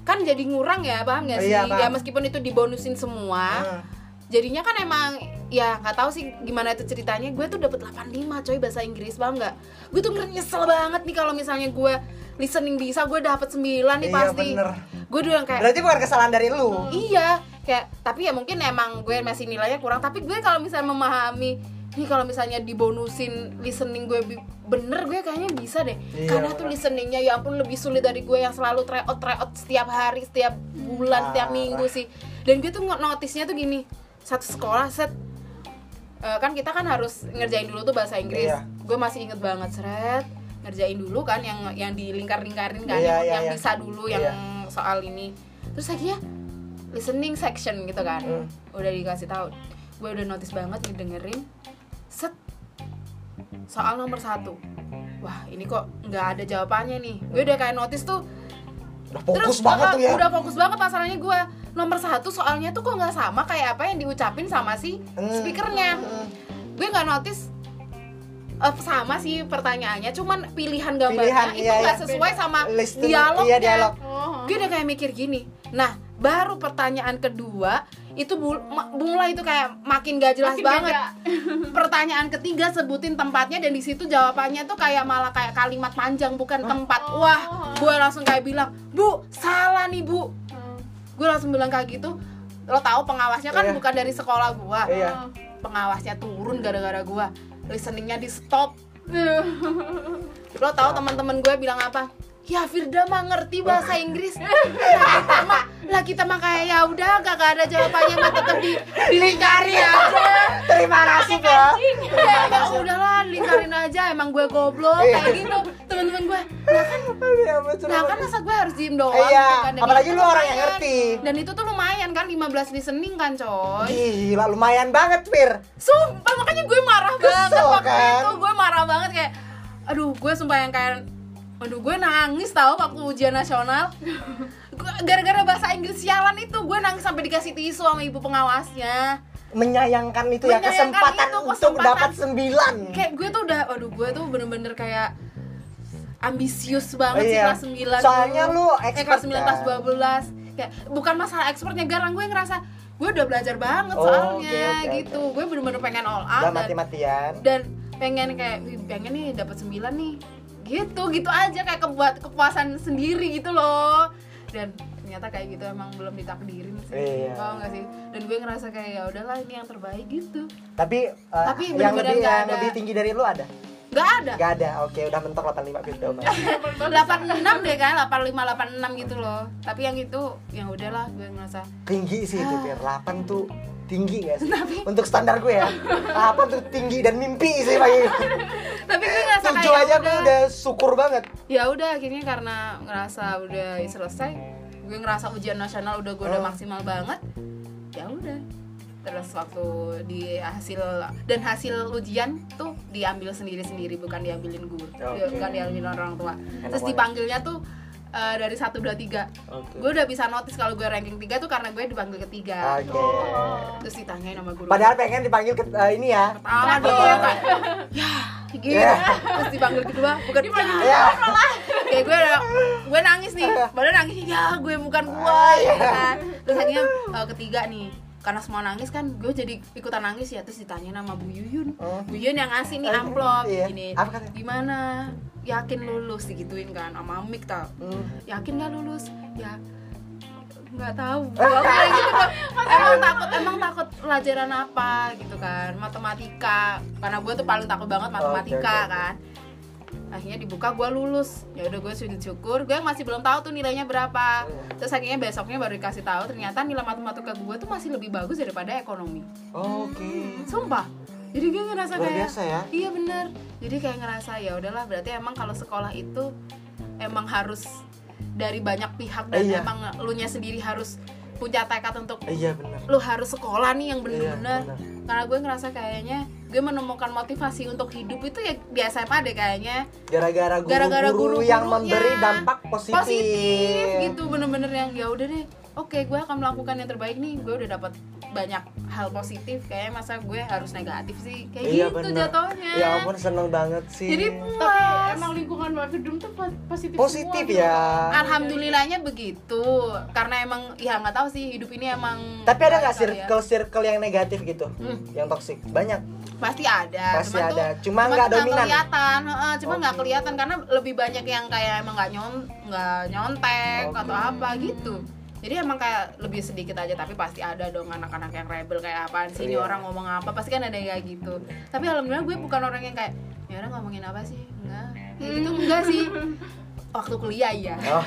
kan jadi ngurang ya paham gak sih
Iya, paham.
ya meskipun itu dibonusin semua
Hmm.
jadinya kan emang ya nggak tahu sih gimana itu ceritanya gue tuh dapat 85 coy bahasa Inggris paham nggak gue tuh nyesel banget nih kalau misalnya gue listening bisa gue dapat 9 nih
Iya,
pasti
bener.
gue doang kayak Hmm.
Berarti bukan kesalahan dari lu.
Iya, kayak tapi ya mungkin emang gue masih nilainya kurang, tapi gue kalau misalnya memahami nih kalau misalnya dibonusin listening gue bi- bener gue kayaknya bisa deh
Iya,
karena tuh
bener.
listeningnya ya ampun lebih sulit dari gue yang selalu try out try out setiap hari setiap bulan setiap
Parah.
minggu sih dan gue tuh nge- notisnya tuh gini satu sekolah set Eh, kan kita kan harus ngerjain dulu tuh bahasa Inggris.
Iya.
Gue masih inget banget seret ngerjain dulu kan yang yang dilingkar-lingkarin kan
Iya,
yang,
iya,
yang
iya.
bisa dulu yang
Iya.
soal ini. Terus akhirnya listening section gitu kan.
Hmm.
Udah dikasih tahu. Gue udah notice banget ngedengerin set soal nomor satu. Wah ini kok nggak ada jawabannya nih. Gue udah kayak notice tuh
udah fokus banget
uh,
tuh ya
udah fokus banget masalahnya gue nomor satu soalnya tuh kok nggak sama kayak apa yang diucapin sama si
Hmm.
speakernya gue nggak notice eh, sama sih pertanyaannya cuman pilihan
Pilihan,
gambarnya itu
iya,
nggak
iya.
sesuai sama
Listening,
dialognya
iya, dialog.
Oh.
gue udah kayak mikir gini nah baru pertanyaan kedua itu bu- ma- mulai itu kayak makin gak jelas
Makin
banget
beda.
pertanyaan ketiga sebutin tempatnya dan di situ jawabannya tuh kayak malah kayak kalimat panjang bukan tempat wah gue langsung kayak bilang bu salah nih bu gue langsung bilang kayak gitu lo tahu pengawasnya
Iya.
kan bukan dari sekolah gua
iya
pengawasnya turun gara-gara gua listeningnya di stop lo tahu teman-teman gue bilang apa ya Firda mah ngerti bahasa Inggris lah kita mah lah kita mah kayak ya udah gak, ada jawabannya mah tetap di dilingkari aja
terima
Nah, kan
kasih kak
ya ya udahlah lingkarin aja emang gue goblok kayak gitu teman-teman gue nah kan
Iya, betul.
nah kan masa gue harus diem doang
Iya,
gitu kan. Dan
apalagi
itu
lu orang yang
lumayan.
ngerti. Iya.
dan itu tuh lumayan kan 15 listening kan coy
Gila, lumayan banget, Fir.
sumpah makanya gue marah
Kesel,
banget waktu
kan?
itu gue marah banget kayak aduh gue sumpah yang kayak aduh gue nangis tau waktu ujian nasional Gue- gara-gara bahasa Inggris sialan itu gue nangis sampai dikasih tisu sama ibu pengawasnya
Menyayangkan itu ya
Menyayangkan
kesempatan
itu,
untuk
kesempatan.
dapat sembilan.
kayak gue tuh udah aduh gue tuh bener-bener kayak ambisius banget
Iya.
sih kelas 9
Soalnya
dulu.
lu
Eh,
expert
kelas 9 kelas
kan?
12 kayak bukan masalah expertnya garang gue ngerasa gue udah belajar banget
Oh,
soalnya
oke, oke,
gitu gue bener-bener pengen all out
Udah
dan,
mati-matian.
dan pengen kayak "Wih, pengen nih dapat 9 nih gitu gitu aja kayak kebuat kepuasan sendiri gitu loh dan ternyata kayak gitu emang belum ditakdirin sih
Iya.
Paham nggak sih dan gue ngerasa kayak ya udahlah ini yang terbaik gitu
Tapi, eh,
Tapi
yang
bener-bener
lebih
nggak
yang
ada.
lebih tinggi dari lu ada?
nggak ada
Gak ada. Oke, udah mentok 85 Fir Daumar.
86 deh kan 85 86 gitu loh tapi yang itu yang udahlah gue ngerasa
tinggi sih itu Fir 8 tuh tinggi gak sih? untuk standar gue ya 8 tuh tinggi dan mimpi sih bagi
tapi gue ngerasa
7
kayak
aja gue
ya udah
udah syukur banget
ya udah akhirnya karena ngerasa udah selesai gue ngerasa ujian nasional udah gue udah
Hmm.
maksimal banget ya udah terus waktu di hasil dan hasil ujian tuh diambil sendiri sendiri bukan diambilin guru
Oke.
bukan diambilin orang tua terus
banget.
dipanggilnya tuh eh, dari satu dua tiga
Oke.
gue udah bisa notice kalau gue ranking tiga tuh karena gue dipanggil ketiga
Oke.
terus ditanyain sama guru
Ah. Padahal pengen dipanggil ke eh, ini ya.
pertama dong kayak, ya gitu
Ya.
terus dipanggil kedua gitu, bukan dipanggil
Ya.
kayak gue udah- gue nangis nih baru nangis ya gue bukan
Ah,
gue
iya.
ya kan terus akhirnya eh, ketiga nih karena semua nangis kan gue jadi ikutan nangis ya terus ditanya sama Bu Yuyun
Hmm.
Bu Yuyun yang ngasih nih
Eh,
amplop
iya.
gini
Apa katanya?
gimana yakin lulus digituin kan sama Mik tau
Hmm.
yakin nggak lulus ya nggak tahu gua kayak gitu gua emang takut emang takut pelajaran apa gitu kan matematika karena gue tuh paling takut banget
Oh,
matematika
Oke, oke, oke.
kan akhirnya dibuka gue lulus ya udah gue sujud syukur gue masih belum tahu tuh nilainya
Oh,
berapa
iya.
terus akhirnya besoknya baru dikasih tahu ternyata nilai matematika gue tuh masih lebih bagus daripada ekonomi
Oke.
sumpah jadi gue ngerasa
Luar
kayak
biasa ya.
iya bener jadi kayak ngerasa ya udahlah berarti emang kalau sekolah itu emang harus dari banyak pihak dan
Iya.
emang lu nya sendiri harus punya tekad untuk
Iya benar.
lu harus sekolah nih yang
Iya,
bener-bener karena gue ngerasa kayaknya gue menemukan motivasi untuk hidup itu ya di SMA deh kayaknya
Gara-gara
Gara-gara
guru-guru yang
guru-gurunya.
memberi dampak positif.
positif gitu bener-bener yang ya udah deh oke gue akan melakukan yang terbaik nih gue udah dapat banyak hal positif kayaknya masa gue harus negatif sih kayak
Iya
gitu
bener.
jatuhnya
Ya ampun seneng banget sih.
jadi
Tapi
puas
emang lingkungan Mbak Firdum tuh po- positif
positif
semua,
ya.
gitu. alhamdulillahnya begitu karena emang ya nggak tahu sih hidup ini emang
Tapi ada nggak
kali ya. Hmm.
circle circle yang negatif gitu, yang toksik? Banyak.
ya. pasti ada
Pasti
cuman
ada.
tuh,
Cuma nggak
tuh
dominan.
kelihatan heeh, cuma nggak
Oke.
kelihatan karena lebih banyak yang kayak emang nggak nyon nggak nyontek
Oke.
atau apa gitu jadi emang kayak lebih sedikit aja tapi pasti ada dong anak-anak yang rebel kayak apaan sih ini
Iya.
orang ngomong apa pasti kan ada yang kayak gitu tapi alhamdulillah gue bukan orang yang kayak ya orang ngomongin apa sih enggak kayak gitu
Hmm.
enggak sih waktu kuliah ya
Oh,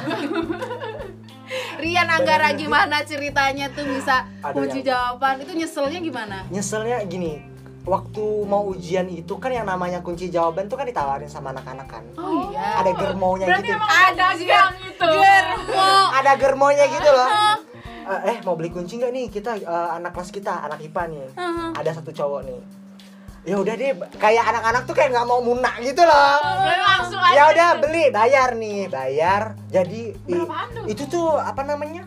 Rian Anggara gimana ceritanya tuh bisa
Ada
uji
yang-
jawaban itu nyeselnya gimana
nyeselnya gini, waktu mau ujian itu kan yang namanya kunci jawaban tuh kan ditawarin sama anak-anak kan.
oh iya
Ada germaunya
gitu. Berarti
gitu.
emang ada gang itu.
germo
Ada germaunya gitu loh.
Oh.
Eh, eh, mau beli kunci nggak nih kita eh, anak kelas kita anak IPA nih.
Uh-huh.
Ada satu cowok nih. Ya udah deh, kayak anak-anak tuh kayak nggak mau munak gitu loh.
Berarti langsung aja. gitu.
ya udah beli bayar nih bayar jadi i-
Berapaan tuh?
itu tuh apa namanya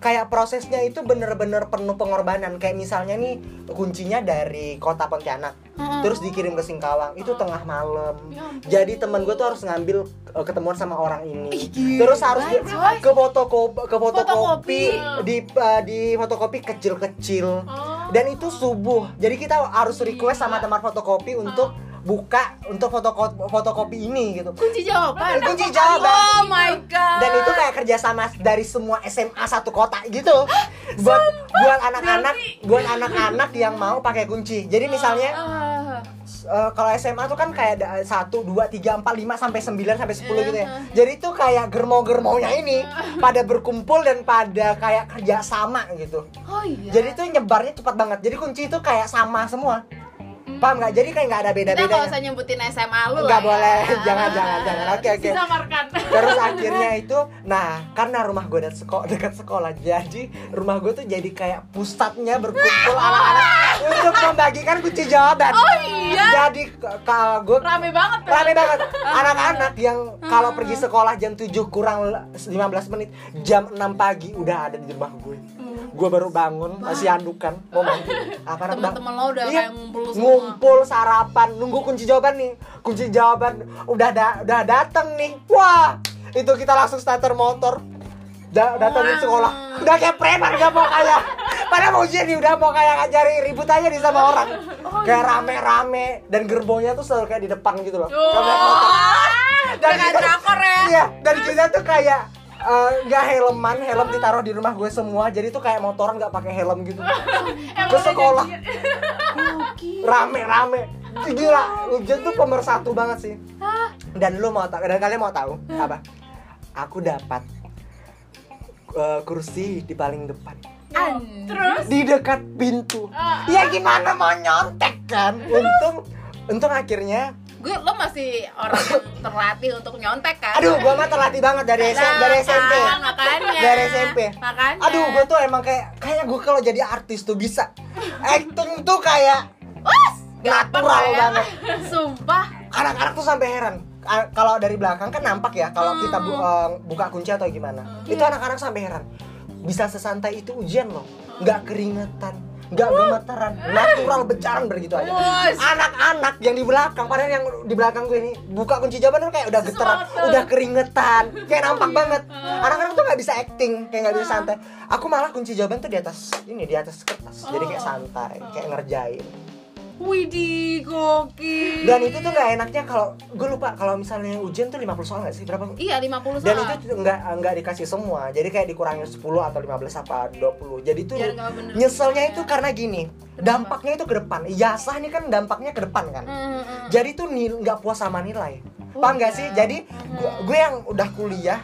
kayak prosesnya itu bener-bener penuh pengorbanan kayak misalnya nih kuncinya dari kota Pontianak terus dikirim ke Singkawang itu tengah malam
Ya ampun.
jadi temen gue tuh harus ngambil eh, ketemuan sama orang ini terus harus di- ke fotokopi ke fotokopi di eh, di fotokopi kecil-kecil
Oh.
dan itu subuh jadi kita harus
Iya.
request sama teman fotokopi untuk
Ah.
buka untuk fotoko- fotokopi ini gitu
kunci jawaban
Dan kunci jawaban
oh my god
dan itu kayak kerjasama dari semua SMA satu kota gitu
Ah,
buat buat anak-anak buat anak-anak yang mau pakai kunci jadi misalnya
Ah.
eh, kalau SMA tuh kan kayak ada satu dua tiga empat lima sampai sembilan sampai
Iya,
sepuluh
ah,
gitu ya jadi itu kayak germo-germonya ini pada berkumpul dan pada kayak kerjasama gitu
oh iya
jadi tuh nyebarnya cepat banget jadi kunci itu kayak sama semua paham nggak jadi kayak nggak ada beda
kita
beda
nggak usah nyebutin SMA lu
nggak
lah ya.
boleh jangan jangan jangan oke oke
Disamarkan.
terus akhirnya itu nah karena rumah gue dekat sekolah dekat sekolah jadi rumah gue tuh jadi kayak pusatnya berkumpul anak-anak untuk membagikan kunci jawaban oh iya jadi kalau gue
Rame banget tuh.
rame banget anak-anak yang kalau pergi
Ah.
sekolah jam 7 kurang le- 15 menit jam 6 pagi udah ada di rumah gue
Hmm.
gue baru bangun masih andukan mau mandi apa Iya.
Temen-temen lo udah kayak ngumpul semua.
ngumpul sarapan nunggu kunci jawaban nih kunci jawaban udah da- udah dateng nih wah itu kita langsung starter motor da- datangin sekolah
Ah.
udah kayak preman gak mau kayak pada mau ujian nih udah mau kayak ngajari ribut aja nih sama orang
Oh,
kayak
iya.
rame-rame dan gerbonya tuh selalu kayak di depan gitu loh Kalau naik motor. dan
Oh, kayak drakor ya.
iya dan kita tuh kayak eh, nggak helman helm ditaruh di rumah gue semua jadi tuh kayak motoran nggak pakai helm gitu
Oh. Emang
ke
Iya,
udah
sekolah
janjian.
rame-rame gila ujian tuh pemersatu banget sih dan lu mau tahu dan kalian mau tahu
Hmm.
apa aku dapat eh, kursi di paling depan
Ah,
Terus
di dekat pintu ya gimana mau nyontek kan untung untung akhirnya
gue lo masih orang yang terlatih untuk nyontek kan
aduh gua mah terlatih banget dari S-
Nah,
dari SMP
kan, makanya
dari SMP
makanya
aduh gua tuh emang kayak kayak gua kalau jadi artis tuh bisa acting tuh kayak natural
ya.
banget
sumpah
anak-anak tuh sampai heran A- kalau dari belakang kan nampak ya kalau kita bu- eh, buka kunci atau gimana itu anak-anak sampai heran bisa sesantai itu ujian loh nggak keringetan nggak gemetaran natural becaran begitu aja anak-anak yang di belakang padahal yang di belakang gue ini buka kunci jawaban tuh kayak udah geteran udah keringetan kayak nampak banget anak-anak tuh nggak bisa acting kayak nggak bisa santai aku malah kunci jawaban tuh di atas ini di atas kertas jadi kayak santai kayak ngerjain
widih gokil
dan itu tuh nggak enaknya kalau gue lupa kalau misalnya ujian tuh 50 soal nggak sih berapa
iya 50 soal
dan itu tuh nggak nggak dikasih semua jadi kayak dikurangin 10 atau 15 apa 20 jadi tuh
Biar nggak bener.
nyeselnya itu karena gini dampaknya itu ke depan ijazah ini kan dampaknya ke depan kan
Hmm, hmm.
jadi tuh nil- nggak puas sama nilai paham nggak sih jadi gue gue yang udah kuliah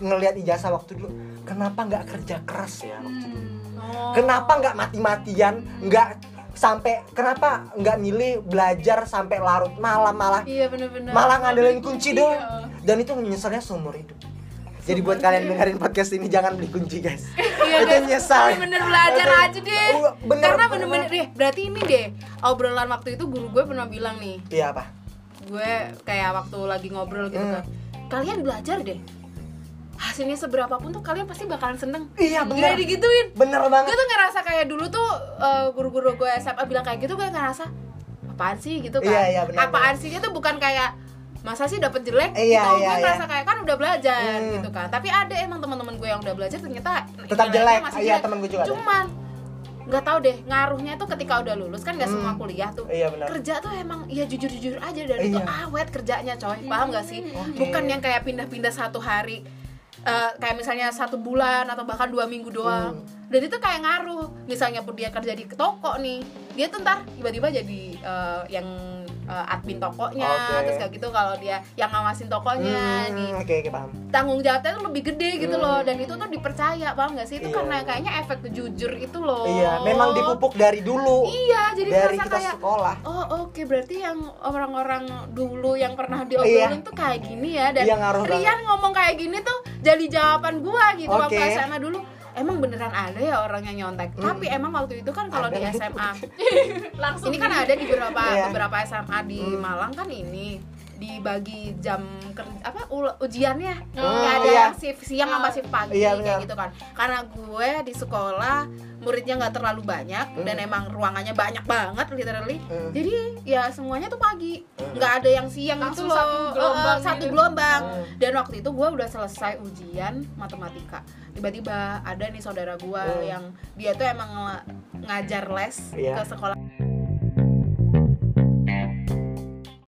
ngelihat ijazah waktu dulu kenapa nggak kerja keras ya waktu dulu?
Oh,
kenapa nggak mati-matian nggak sampai kenapa nggak milih belajar sampai larut malam malah
iya bener-bener
malah ngandelin kunci dong
iya.
dan itu menyesalnya seumur hidup jadi buat kalian dengerin podcast ini jangan beli kunci guys
Iya,
itu
guys.
nyesal
bener belajar
Oke.
aja deh
Uh, bener,
karena bener-bener iya. deh berarti ini deh obrolan waktu itu guru gue pernah bilang nih
iya apa
gue kayak waktu lagi ngobrol gitu
Hmm.
kan kalian belajar deh hasilnya seberapa pun tuh kalian pasti bakalan seneng
iya
Gak
bener
digituin
bener banget
gue tuh ngerasa kayak dulu tuh eh, guru-guru gue SMA bilang kayak gitu gue ngerasa apaan sih gitu kan
Iya, iya, benar,
apaan sih itu bukan kayak masa sih dapat jelek
Iya,
gitu
iya,
gue
iya.
ngerasa kayak kan udah belajar
Hmm.
gitu kan tapi ada emang teman-teman gue yang udah belajar ternyata
Tetap
nilainya
jelek.
masih
Iya,
jelek.
temen gue juga ada.
cuman nggak tahu deh ngaruhnya tuh ketika udah lulus kan nggak
Hmm.
semua kuliah tuh
Iya, benar.
kerja tuh emang ya jujur-jujur aja dan itu
Iya.
awet kerjanya coy paham gak sih bukan yang kayak pindah-pindah satu hari eh, eh, kayak misalnya satu bulan atau bahkan dua minggu doang
Hmm.
dan itu kayak ngaruh misalnya pun dia kerja di toko nih dia tuh ntar tiba-tiba jadi eh, yang eh, admin tokonya
Oke.
terus kayak gitu kalau dia yang ngawasin tokonya Iya, di
Hmm, oke oke paham
tanggung jawabnya tuh lebih gede gitu
Hmm.
loh dan itu tuh dipercaya paham nggak sih itu
Iya.
karena kayaknya efek jujur itu loh
iya memang dipupuk dari dulu
iya Oh. jadi
dari
merasa
kita
kayak
sekolah
oh oke berarti yang orang-orang dulu yang pernah
Iya.
diobrolin tuh kayak gini ya dan
Iya, ngaruh banget.
Rian ngomong kayak gini tuh jadi jawaban gua gitu waktu
Oke.
SMA dulu emang beneran ada ya orang yang nyontek
Hmm.
tapi emang waktu itu kan kalau
Ada.
di SMA
langsung
ini kan ada di beberapa
Iya.
beberapa SMA di
Hmm.
Malang kan ini dibagi jam ker- apa ul- ujiannya
Hmm,
Nggak ada
iya.
yang shift siang sama shift pagi
Iya, benar.
kayak gitu kan karena gue di sekolah muridnya nggak terlalu banyak
Hmm.
dan emang ruangannya banyak banget literally
Hmm.
jadi ya semuanya tuh pagi
Hmm.
nggak ada yang siang gitu
Langsung
loh
satu gelombang
Eh, satu
gitu.
gelombang
Hmm.
dan waktu itu gue udah selesai ujian matematika tiba-tiba ada nih saudara gue
Hmm.
yang dia tuh emang ngajar les
Iya.
ke sekolah